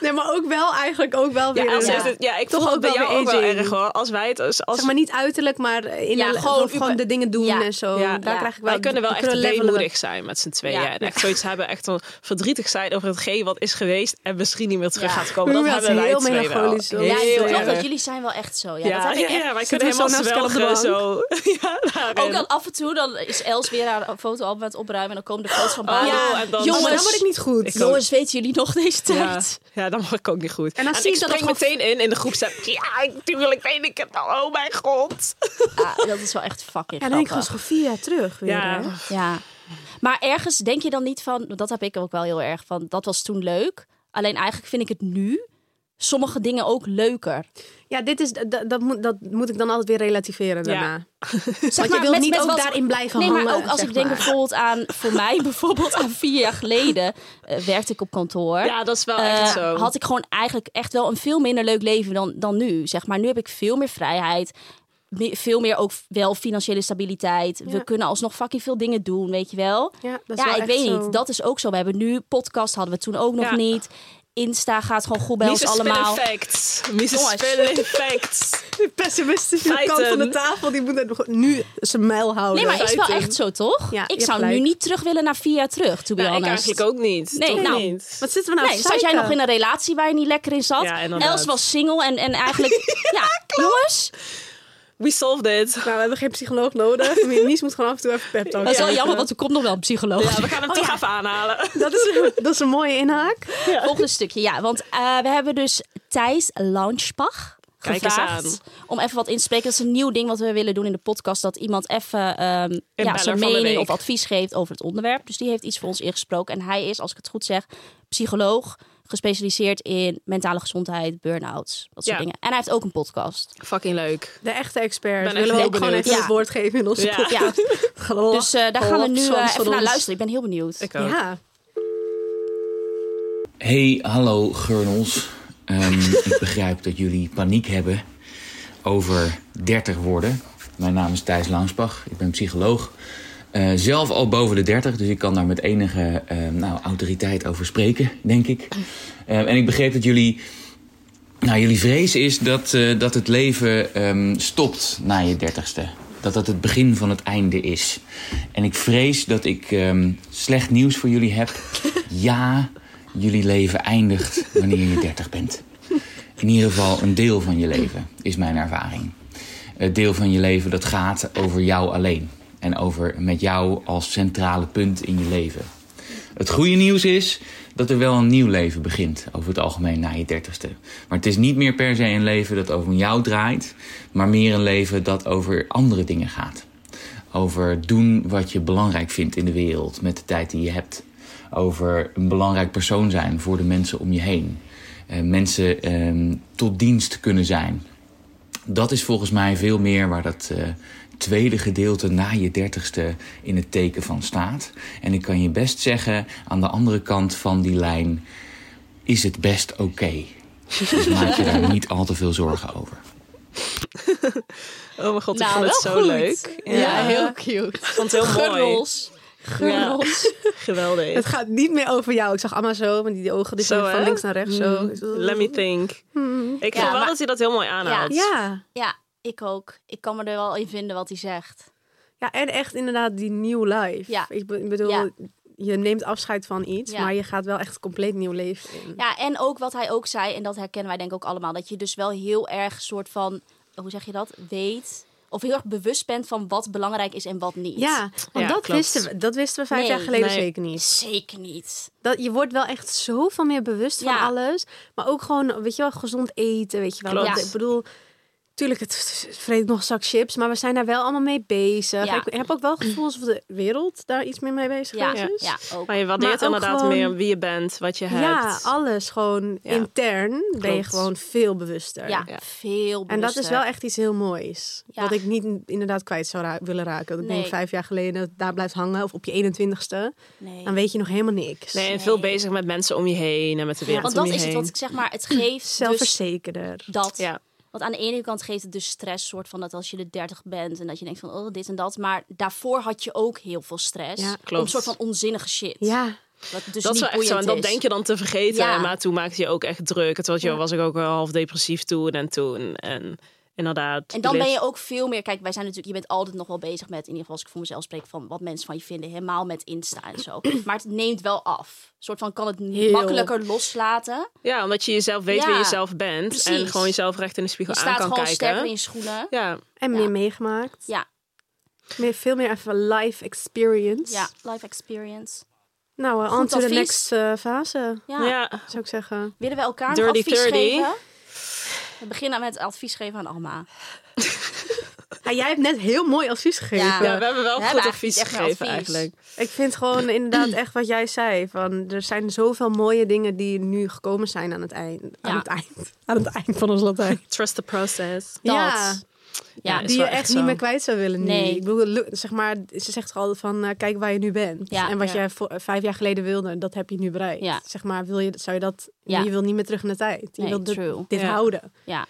[SPEAKER 4] Nee, maar ook wel eigenlijk ook wel weer.
[SPEAKER 5] Ja,
[SPEAKER 4] een-
[SPEAKER 5] als
[SPEAKER 3] ja.
[SPEAKER 5] is het- ja ik
[SPEAKER 4] Toch
[SPEAKER 5] toch ook
[SPEAKER 4] ook
[SPEAKER 5] bij
[SPEAKER 4] wel
[SPEAKER 5] jou
[SPEAKER 4] weer
[SPEAKER 5] ook wel
[SPEAKER 4] aging.
[SPEAKER 5] erg hoor. Als wij het als, als
[SPEAKER 4] Zeg maar niet uiterlijk, maar in
[SPEAKER 3] Ja,
[SPEAKER 4] gewoon,
[SPEAKER 3] gewoon
[SPEAKER 4] gewoon de dingen doen
[SPEAKER 3] Ja.
[SPEAKER 4] en zo.
[SPEAKER 5] Ja.
[SPEAKER 4] Daar
[SPEAKER 3] Ja.
[SPEAKER 4] krijg ik wel.
[SPEAKER 5] wij kunnen wel
[SPEAKER 4] we
[SPEAKER 5] echt
[SPEAKER 4] levelen.
[SPEAKER 5] weemoedig zijn met z'n tweeën.
[SPEAKER 3] Ja.
[SPEAKER 5] En echt zoiets (laughs) hebben, echt wel verdrietig zijn over hetgeen wat is geweest en misschien niet meer terug
[SPEAKER 3] Ja.
[SPEAKER 5] gaat komen. Dat
[SPEAKER 4] Ja, het is
[SPEAKER 5] hebben wij
[SPEAKER 4] heel
[SPEAKER 5] twee wel.
[SPEAKER 4] melancholisch, hoor.
[SPEAKER 3] Ja,
[SPEAKER 4] Heel
[SPEAKER 3] ik klopt
[SPEAKER 5] erg.
[SPEAKER 3] dat jullie zijn wel echt zo. Ja,
[SPEAKER 5] Ja,
[SPEAKER 3] dat heb ik
[SPEAKER 5] ja,
[SPEAKER 3] echt.
[SPEAKER 5] ja, wij kunnen
[SPEAKER 4] Zitten we
[SPEAKER 5] helemaal
[SPEAKER 4] zo naast elkaar
[SPEAKER 5] zwelgen
[SPEAKER 4] op de
[SPEAKER 5] zo. (laughs) ja, daarin.
[SPEAKER 3] Ook dan af en toe, dan is Els weer haar fotoalbum aan het opruimen. En dan komen de foto's van Bali.
[SPEAKER 5] ja, en dan-
[SPEAKER 4] Jongens,
[SPEAKER 3] Jongens,
[SPEAKER 4] Oh, dan word ik niet goed.
[SPEAKER 5] Ik ook.
[SPEAKER 3] Jongens, weten jullie nog deze
[SPEAKER 5] ja,
[SPEAKER 3] tijd?
[SPEAKER 5] ja, dan mag ik ook niet goed.
[SPEAKER 4] En dan zie
[SPEAKER 5] ik
[SPEAKER 4] ik dat
[SPEAKER 5] spring
[SPEAKER 4] het gewoon-
[SPEAKER 5] meteen in in de groepsapp. Ja, natuurlijk weet ik het al. Oh mijn god.
[SPEAKER 3] Ja, Ah, dat is wel echt fucking
[SPEAKER 4] Ja, dan denk ik
[SPEAKER 3] grappig.
[SPEAKER 4] gewoon is gewoon vier jaar terug weer.
[SPEAKER 5] Ja.
[SPEAKER 4] hè?
[SPEAKER 3] Ja. Maar ergens denk je dan niet van, want dat heb ik ook wel heel erg van, dat was toen leuk. Alleen eigenlijk vind ik het nu sommige dingen ook (laughs) leuker.
[SPEAKER 4] ja dit is, dat, dat, moet, dat moet ik dan altijd weer relativeren daarna.
[SPEAKER 3] Zeg
[SPEAKER 4] Want je wilt niet ook daarin blijven
[SPEAKER 3] Nee, maar
[SPEAKER 4] hangen,
[SPEAKER 3] ook als
[SPEAKER 4] zeg
[SPEAKER 3] ik denk
[SPEAKER 4] maar.
[SPEAKER 3] bijvoorbeeld aan, voor mij (laughs) bijvoorbeeld aan vier jaar geleden eh, werkte ik op kantoor.
[SPEAKER 5] Ja, dat is wel
[SPEAKER 3] Eh,
[SPEAKER 5] echt zo.
[SPEAKER 3] had ik gewoon eigenlijk echt wel een veel minder leuk leven dan, dan nu. Zeg maar, nu heb ik veel meer vrijheid. me- Veel meer ook wel financiële stabiliteit. We kunnen alsnog fucking veel dingen doen, weet je wel.
[SPEAKER 4] Ja, dat
[SPEAKER 3] Ja,
[SPEAKER 4] is wel
[SPEAKER 3] ik
[SPEAKER 4] echt
[SPEAKER 3] weet
[SPEAKER 4] zo.
[SPEAKER 3] niet. Dat is ook zo. We hebben nu podcast, hadden we toen ook nog
[SPEAKER 5] Ja.
[SPEAKER 3] niet. Insta gaat gewoon goed bij
[SPEAKER 5] Mises
[SPEAKER 3] ons allemaal.
[SPEAKER 5] Spilling Facts. Mises
[SPEAKER 3] Jongens.
[SPEAKER 5] Spilling
[SPEAKER 3] (laughs)
[SPEAKER 5] Facts.
[SPEAKER 4] De pessimistische kant van de
[SPEAKER 5] Feiten.
[SPEAKER 4] tafel, die moet het nu zijn mijl
[SPEAKER 5] oh,
[SPEAKER 4] houden.
[SPEAKER 3] Nee, maar is wel echt zo, toch?
[SPEAKER 4] Ja, je
[SPEAKER 3] ik
[SPEAKER 4] hebt
[SPEAKER 3] zou nu
[SPEAKER 4] gelijk.
[SPEAKER 3] niet terug willen naar vier jaar terug, to be
[SPEAKER 5] Nou, ik
[SPEAKER 3] honest.
[SPEAKER 5] eigenlijk ook niet.
[SPEAKER 3] Nee,
[SPEAKER 5] Toch
[SPEAKER 3] nou.
[SPEAKER 5] niet.
[SPEAKER 4] Wat zitten we nou
[SPEAKER 3] Nee, zat jij nog in een relatie waar je niet lekker in zat?
[SPEAKER 5] Ja, inderdaad.
[SPEAKER 3] Els was single en, en
[SPEAKER 5] (laughs)
[SPEAKER 3] eigenlijk... ja, jongens,
[SPEAKER 5] We solved it.
[SPEAKER 3] Oh,
[SPEAKER 4] Nou, we hebben geen psycholoog nodig.
[SPEAKER 3] (laughs)
[SPEAKER 4] Nies moet gewoon af en toe even pep talk
[SPEAKER 3] dat is wel
[SPEAKER 4] krijgen.
[SPEAKER 3] jammer, want er komt nog wel een psycholoog.
[SPEAKER 5] Ja, we gaan
[SPEAKER 3] oh
[SPEAKER 4] Oh
[SPEAKER 5] hem toch even
[SPEAKER 3] (laughs)
[SPEAKER 5] aanhalen.
[SPEAKER 4] Dat is, dat is een mooie inhaak.
[SPEAKER 3] Volgende stukje, ja. Want eh, we hebben dus Thijs Launchbach
[SPEAKER 5] Kijk eens
[SPEAKER 3] gevraagd om even wat in te spreken. Dat is een nieuw ding wat we willen doen in de podcast. Dat iemand even ehm, ja,
[SPEAKER 5] beller
[SPEAKER 3] zijn
[SPEAKER 5] van de
[SPEAKER 3] mening
[SPEAKER 5] week.
[SPEAKER 3] of advies geeft over het onderwerp. Dus die heeft iets voor ons ingesproken. En hij is, als ik het goed zeg, psycholoog. Gespecialiseerd in mentale gezondheid, burn-outs, dat soort
[SPEAKER 5] Ja.
[SPEAKER 3] dingen. En hij heeft ook een podcast.
[SPEAKER 5] Fucking leuk.
[SPEAKER 4] De echte expert.
[SPEAKER 5] Ben echt
[SPEAKER 4] Willen we
[SPEAKER 5] heel
[SPEAKER 4] ook gewoon
[SPEAKER 5] benieuwd.
[SPEAKER 4] even
[SPEAKER 3] Ja.
[SPEAKER 4] het woord geven in onze
[SPEAKER 5] Ja.
[SPEAKER 4] podcast.
[SPEAKER 3] Ja,
[SPEAKER 4] Gelach.
[SPEAKER 3] dus eh, daar gaan we nu eh,
[SPEAKER 4] Soms van
[SPEAKER 3] even naar
[SPEAKER 4] ons.
[SPEAKER 3] luisteren. Ik ben heel benieuwd.
[SPEAKER 5] Ik ook.
[SPEAKER 4] Ja.
[SPEAKER 8] Hey, hallo Gurnels. Ehm, ik begrijp dat jullie paniek hebben over 30 worden. Mijn naam is Thijs Langsbach, ik ben psycholoog. eh, zelf al boven de 30, dus ik kan daar met enige eh, nou, autoriteit over spreken, denk ik. Eh, en ik begreep dat jullie. Nou, jullie vrees is dat, eh, dat het leven ehm, stopt na je 30ste. Dat dat het begin van het einde is. En ik vrees dat ik ehm, slecht nieuws voor jullie heb. Ja, jullie leven eindigt wanneer je 30 bent. In ieder geval een deel van je leven, is mijn ervaring. Het deel van je leven dat gaat over jou alleen. En over met jou als centrale punt in je leven. Het goede nieuws is dat er wel een nieuw leven begint, over het algemeen na je dertigste. Maar het is niet meer per se een leven dat over jou draait, maar meer een leven dat over andere dingen gaat. Over doen wat je belangrijk vindt in de wereld met de tijd die je hebt. Over een belangrijk persoon zijn voor de mensen om je heen. Eh, mensen ehm, tot dienst kunnen zijn. Dat is volgens mij veel meer waar dat eh, tweede gedeelte na je dertigste in het teken van staat. En ik kan je best zeggen, aan de andere kant van die lijn is het best oké. Dus maak je daar niet al te veel zorgen over.
[SPEAKER 5] Oh mijn god, ik
[SPEAKER 3] Nou,
[SPEAKER 5] vond het
[SPEAKER 3] wel
[SPEAKER 5] zo
[SPEAKER 3] goed.
[SPEAKER 5] leuk.
[SPEAKER 3] Ja, heel cute.
[SPEAKER 5] Ik vond het heel mooi.
[SPEAKER 3] Gurnels. Gurnels.
[SPEAKER 5] Geweldig.
[SPEAKER 4] Het gaat niet meer over jou. Ik zag Amma zo met die ogen dus
[SPEAKER 5] Zo,
[SPEAKER 4] van
[SPEAKER 5] hè?
[SPEAKER 4] links naar rechts. Zo.
[SPEAKER 3] Mm.
[SPEAKER 5] Let me think. Ik
[SPEAKER 3] Hmm. Ja,
[SPEAKER 5] vond wel
[SPEAKER 3] maar-
[SPEAKER 5] dat hij dat heel mooi aanhaalt.
[SPEAKER 4] Ja.
[SPEAKER 3] Ja, ik ook. Ik kan me er wel in vinden wat hij zegt.
[SPEAKER 4] ja, en echt inderdaad die nieuw life.
[SPEAKER 3] Ja.
[SPEAKER 4] Ik be- bedoel,
[SPEAKER 3] Ja.
[SPEAKER 4] je neemt afscheid van iets,
[SPEAKER 3] Ja.
[SPEAKER 4] maar je gaat wel echt compleet nieuw leven in.
[SPEAKER 3] Ja, en ook wat hij ook zei, en dat herkennen wij denk ik ook allemaal, dat je dus wel heel erg soort van, hoe zeg je dat, weet, of heel erg bewust bent van wat belangrijk is en wat niet.
[SPEAKER 4] Ja, want
[SPEAKER 5] Ja,
[SPEAKER 4] dat,
[SPEAKER 5] klopt.
[SPEAKER 4] wisten we, dat wisten we vijf
[SPEAKER 3] Nee,
[SPEAKER 4] jaar geleden
[SPEAKER 5] nee.
[SPEAKER 4] zeker niet.
[SPEAKER 3] Zeker niet.
[SPEAKER 4] Dat, je wordt wel echt zoveel meer bewust van
[SPEAKER 3] Ja.
[SPEAKER 4] alles. Maar ook gewoon, weet je wel, gezond eten, weet je wel.
[SPEAKER 5] Klopt.
[SPEAKER 4] Dat-
[SPEAKER 3] Ja.
[SPEAKER 4] Ik bedoel, tuurlijk, het vreet nog een zak chips. Maar we zijn daar wel allemaal mee bezig.
[SPEAKER 3] Ja.
[SPEAKER 4] Ik heb ook wel het gevoel alsof de wereld daar iets meer mee bezig
[SPEAKER 3] Ja,
[SPEAKER 4] is.
[SPEAKER 3] ja, ook.
[SPEAKER 5] Maar je waardeert
[SPEAKER 4] Maar ook
[SPEAKER 5] inderdaad
[SPEAKER 4] gewoon-
[SPEAKER 5] meer wie je bent, wat je
[SPEAKER 4] Ja,
[SPEAKER 5] hebt.
[SPEAKER 4] alles gewoon
[SPEAKER 5] Ja.
[SPEAKER 4] intern ben je
[SPEAKER 5] Klopt.
[SPEAKER 4] gewoon veel bewuster.
[SPEAKER 3] Ja,
[SPEAKER 5] Ja.
[SPEAKER 3] veel
[SPEAKER 4] En dat is wel
[SPEAKER 3] bewuster.
[SPEAKER 4] echt iets heel moois.
[SPEAKER 3] Ja.
[SPEAKER 4] Wat ik niet inderdaad kwijt zou ra- willen raken. Dat ik
[SPEAKER 3] Nee.
[SPEAKER 4] denk vijf jaar geleden daar blijft hangen. Of op je 21ste.
[SPEAKER 3] Nee.
[SPEAKER 4] Dan weet je nog helemaal niks.
[SPEAKER 5] Nee, en veel bezig met mensen om je heen en met de wereld
[SPEAKER 3] Want
[SPEAKER 5] om
[SPEAKER 3] dat
[SPEAKER 5] je
[SPEAKER 3] is het
[SPEAKER 5] heen.
[SPEAKER 3] wat ik zeg maar, het (clears throat) geeft dus
[SPEAKER 4] Zelfverzekerder.
[SPEAKER 3] dat.
[SPEAKER 5] Ja.
[SPEAKER 3] Want aan de ene kant geeft het dus stress, soort van dat als je de 30 bent en dat je denkt van oh dit en dat, maar daarvoor had je ook heel veel stress.
[SPEAKER 4] Ja,
[SPEAKER 5] klopt.
[SPEAKER 3] Om soort van onzinnige shit.
[SPEAKER 4] Ja.
[SPEAKER 3] Dat dus
[SPEAKER 5] dat is
[SPEAKER 3] niet
[SPEAKER 5] wel echt zo. En
[SPEAKER 3] boeiend
[SPEAKER 5] dat
[SPEAKER 3] is.
[SPEAKER 5] denk je dan te vergeten.
[SPEAKER 3] Ja.
[SPEAKER 5] Maar toen maakte je ook echt druk. Het was, joh, was ik ook wel half depressief toen en toen. En inderdaad. dus
[SPEAKER 3] En dan ben je
[SPEAKER 5] lift-
[SPEAKER 3] ook veel meer. Kijk, wij zijn natuurlijk, je bent altijd nog wel bezig met, in ieder geval als ik voor mezelf spreek, van wat mensen van je vinden, helemaal met Insta en
[SPEAKER 5] (clears throat)
[SPEAKER 3] zo. Maar het neemt wel af. Een soort van kan het
[SPEAKER 4] Heel.
[SPEAKER 3] makkelijker loslaten.
[SPEAKER 5] Ja, omdat je jezelf weet
[SPEAKER 3] Ja,
[SPEAKER 5] wie je zelf bent. En
[SPEAKER 3] precies.
[SPEAKER 5] gewoon jezelf recht in de
[SPEAKER 3] Je
[SPEAKER 5] spiegel aan
[SPEAKER 3] staat
[SPEAKER 5] kan
[SPEAKER 3] gewoon sterker
[SPEAKER 5] kijken.
[SPEAKER 3] in je schoenen.
[SPEAKER 5] Ja,
[SPEAKER 4] En
[SPEAKER 3] Ja.
[SPEAKER 4] meer meegemaakt.
[SPEAKER 3] Ja,
[SPEAKER 4] Meer, veel meer even life experience.
[SPEAKER 3] ja, life experience.
[SPEAKER 4] Nou, eh, on
[SPEAKER 3] Goed
[SPEAKER 4] to the
[SPEAKER 3] advies.
[SPEAKER 4] next eh, fase,
[SPEAKER 3] Ja.
[SPEAKER 5] ja.
[SPEAKER 4] zou ik zeggen.
[SPEAKER 3] Willen we elkaar nog
[SPEAKER 5] Dirty
[SPEAKER 3] advies
[SPEAKER 5] 30.
[SPEAKER 3] geven? We beginnen met advies geven aan Alma. Ah,
[SPEAKER 4] Ja, jij hebt net heel mooi advies gegeven.
[SPEAKER 3] Ja.
[SPEAKER 5] Ja, we hebben wel
[SPEAKER 3] We
[SPEAKER 5] goed
[SPEAKER 3] hebben
[SPEAKER 5] advies
[SPEAKER 3] eigenlijk niet echt
[SPEAKER 5] gegeven
[SPEAKER 3] advies.
[SPEAKER 5] eigenlijk.
[SPEAKER 4] Ik vind gewoon inderdaad echt wat jij zei. Van, er zijn zoveel mooie dingen die nu gekomen zijn aan het eind. Aan,
[SPEAKER 3] Ja.
[SPEAKER 4] het eind. aan het eind
[SPEAKER 3] (laughs)
[SPEAKER 4] van ons Latijn.
[SPEAKER 5] Trust the process.
[SPEAKER 3] Dat.
[SPEAKER 4] Ja.
[SPEAKER 3] Ja,
[SPEAKER 5] is
[SPEAKER 4] die je
[SPEAKER 5] wel
[SPEAKER 4] echt
[SPEAKER 5] echt
[SPEAKER 4] niet
[SPEAKER 5] zo.
[SPEAKER 4] meer kwijt zou willen nu.
[SPEAKER 3] Nee.
[SPEAKER 4] Ik bedoel, lu- zeg maar, ze zegt toch altijd van, eh, kijk waar je nu bent.
[SPEAKER 3] Ja.
[SPEAKER 4] en wat
[SPEAKER 5] Ja.
[SPEAKER 4] jij voor- eh, vijf jaar geleden wilde, dat heb je nu bereikt.
[SPEAKER 3] Ja.
[SPEAKER 4] Zeg maar, wil je, zou je dat...
[SPEAKER 3] Ja.
[SPEAKER 4] Je wil niet meer terug in de tijd. Je
[SPEAKER 3] Nee,
[SPEAKER 4] wilt dit,
[SPEAKER 3] true.
[SPEAKER 4] dit
[SPEAKER 5] Ja.
[SPEAKER 4] houden.
[SPEAKER 3] Ja.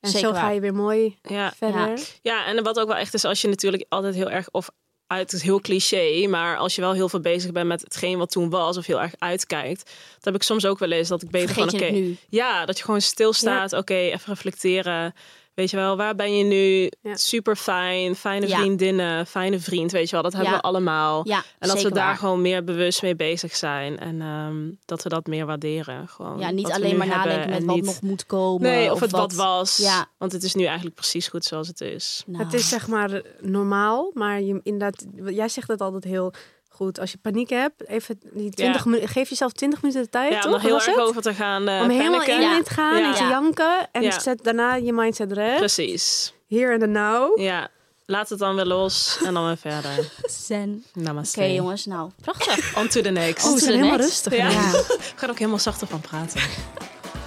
[SPEAKER 4] En
[SPEAKER 3] Zeker
[SPEAKER 4] zo ga
[SPEAKER 3] waar.
[SPEAKER 4] je weer mooi
[SPEAKER 5] Ja.
[SPEAKER 4] verder.
[SPEAKER 3] Ja.
[SPEAKER 5] ja, en wat ook wel echt is, als je natuurlijk altijd heel erg of uit het is heel cliché, maar als je wel heel veel bezig bent met hetgeen wat toen was of heel erg uitkijkt, dat heb ik soms ook wel eens dat ik beter
[SPEAKER 3] Vergeet
[SPEAKER 5] van
[SPEAKER 3] je
[SPEAKER 5] oké,
[SPEAKER 3] het nu.
[SPEAKER 5] ja, dat je gewoon stilstaat, oké, even reflecteren. Weet je wel, waar ben je nu?
[SPEAKER 4] Ja.
[SPEAKER 5] Super fijn, fijne
[SPEAKER 3] Ja.
[SPEAKER 5] vriendinnen, fijne vriend, weet je wel, dat hebben
[SPEAKER 3] Ja.
[SPEAKER 5] we allemaal.
[SPEAKER 3] Ja,
[SPEAKER 5] en dat we
[SPEAKER 3] zeker
[SPEAKER 5] daar
[SPEAKER 3] waar.
[SPEAKER 5] gewoon meer bewust mee bezig zijn en ehm, dat we dat meer waarderen. Gewoon
[SPEAKER 3] Ja, niet
[SPEAKER 5] wat we
[SPEAKER 3] alleen
[SPEAKER 5] nu
[SPEAKER 3] maar
[SPEAKER 5] hebben
[SPEAKER 3] nadenken met
[SPEAKER 5] en
[SPEAKER 3] wat
[SPEAKER 5] niet-
[SPEAKER 3] nog moet komen.
[SPEAKER 5] Nee, of, het wat, was.
[SPEAKER 3] Ja.
[SPEAKER 5] Want het is nu eigenlijk precies goed zoals het is.
[SPEAKER 3] Nou,
[SPEAKER 4] Het is zeg maar normaal, maar je, inderdaad, jij zegt dat altijd heel goed. Als je paniek hebt, even die 20 minu- geef jezelf 20 minuten de tijd,
[SPEAKER 5] ja, om
[SPEAKER 4] toch?
[SPEAKER 5] er heel
[SPEAKER 4] Was
[SPEAKER 5] erg
[SPEAKER 4] het?
[SPEAKER 5] over te gaan. eh
[SPEAKER 4] Om helemaal
[SPEAKER 5] panicken.
[SPEAKER 4] in
[SPEAKER 3] Ja.
[SPEAKER 4] in te gaan
[SPEAKER 5] Ja.
[SPEAKER 4] en te janken. En
[SPEAKER 5] Ja.
[SPEAKER 4] zet daarna je mindset recht.
[SPEAKER 5] Precies.
[SPEAKER 4] Hier en de now.
[SPEAKER 5] Ja. Laat het dan weer los en dan weer verder.
[SPEAKER 3] (laughs) zen.
[SPEAKER 5] Namaste.
[SPEAKER 3] Oké jongens, nou prachtig.
[SPEAKER 5] On to the next.
[SPEAKER 3] Oh,
[SPEAKER 4] we
[SPEAKER 3] to
[SPEAKER 4] zijn
[SPEAKER 3] the
[SPEAKER 4] helemaal
[SPEAKER 3] next.
[SPEAKER 4] rustig.
[SPEAKER 5] ja. (laughs)
[SPEAKER 3] Ja.
[SPEAKER 5] Ik ga er ook helemaal zachter van praten.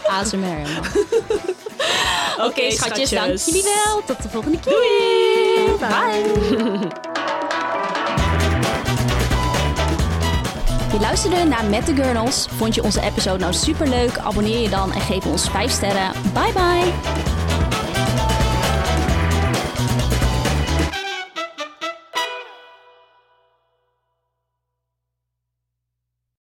[SPEAKER 3] ASMR. jongen.
[SPEAKER 5] Oké,
[SPEAKER 3] Oké, schatjes, dank jullie wel. Tot de volgende keer. Bye. Je luisterde naar Met de Gurnals. Vond je onze episode nou superleuk? Abonneer je dan en geef ons 5 sterren. Bye bye.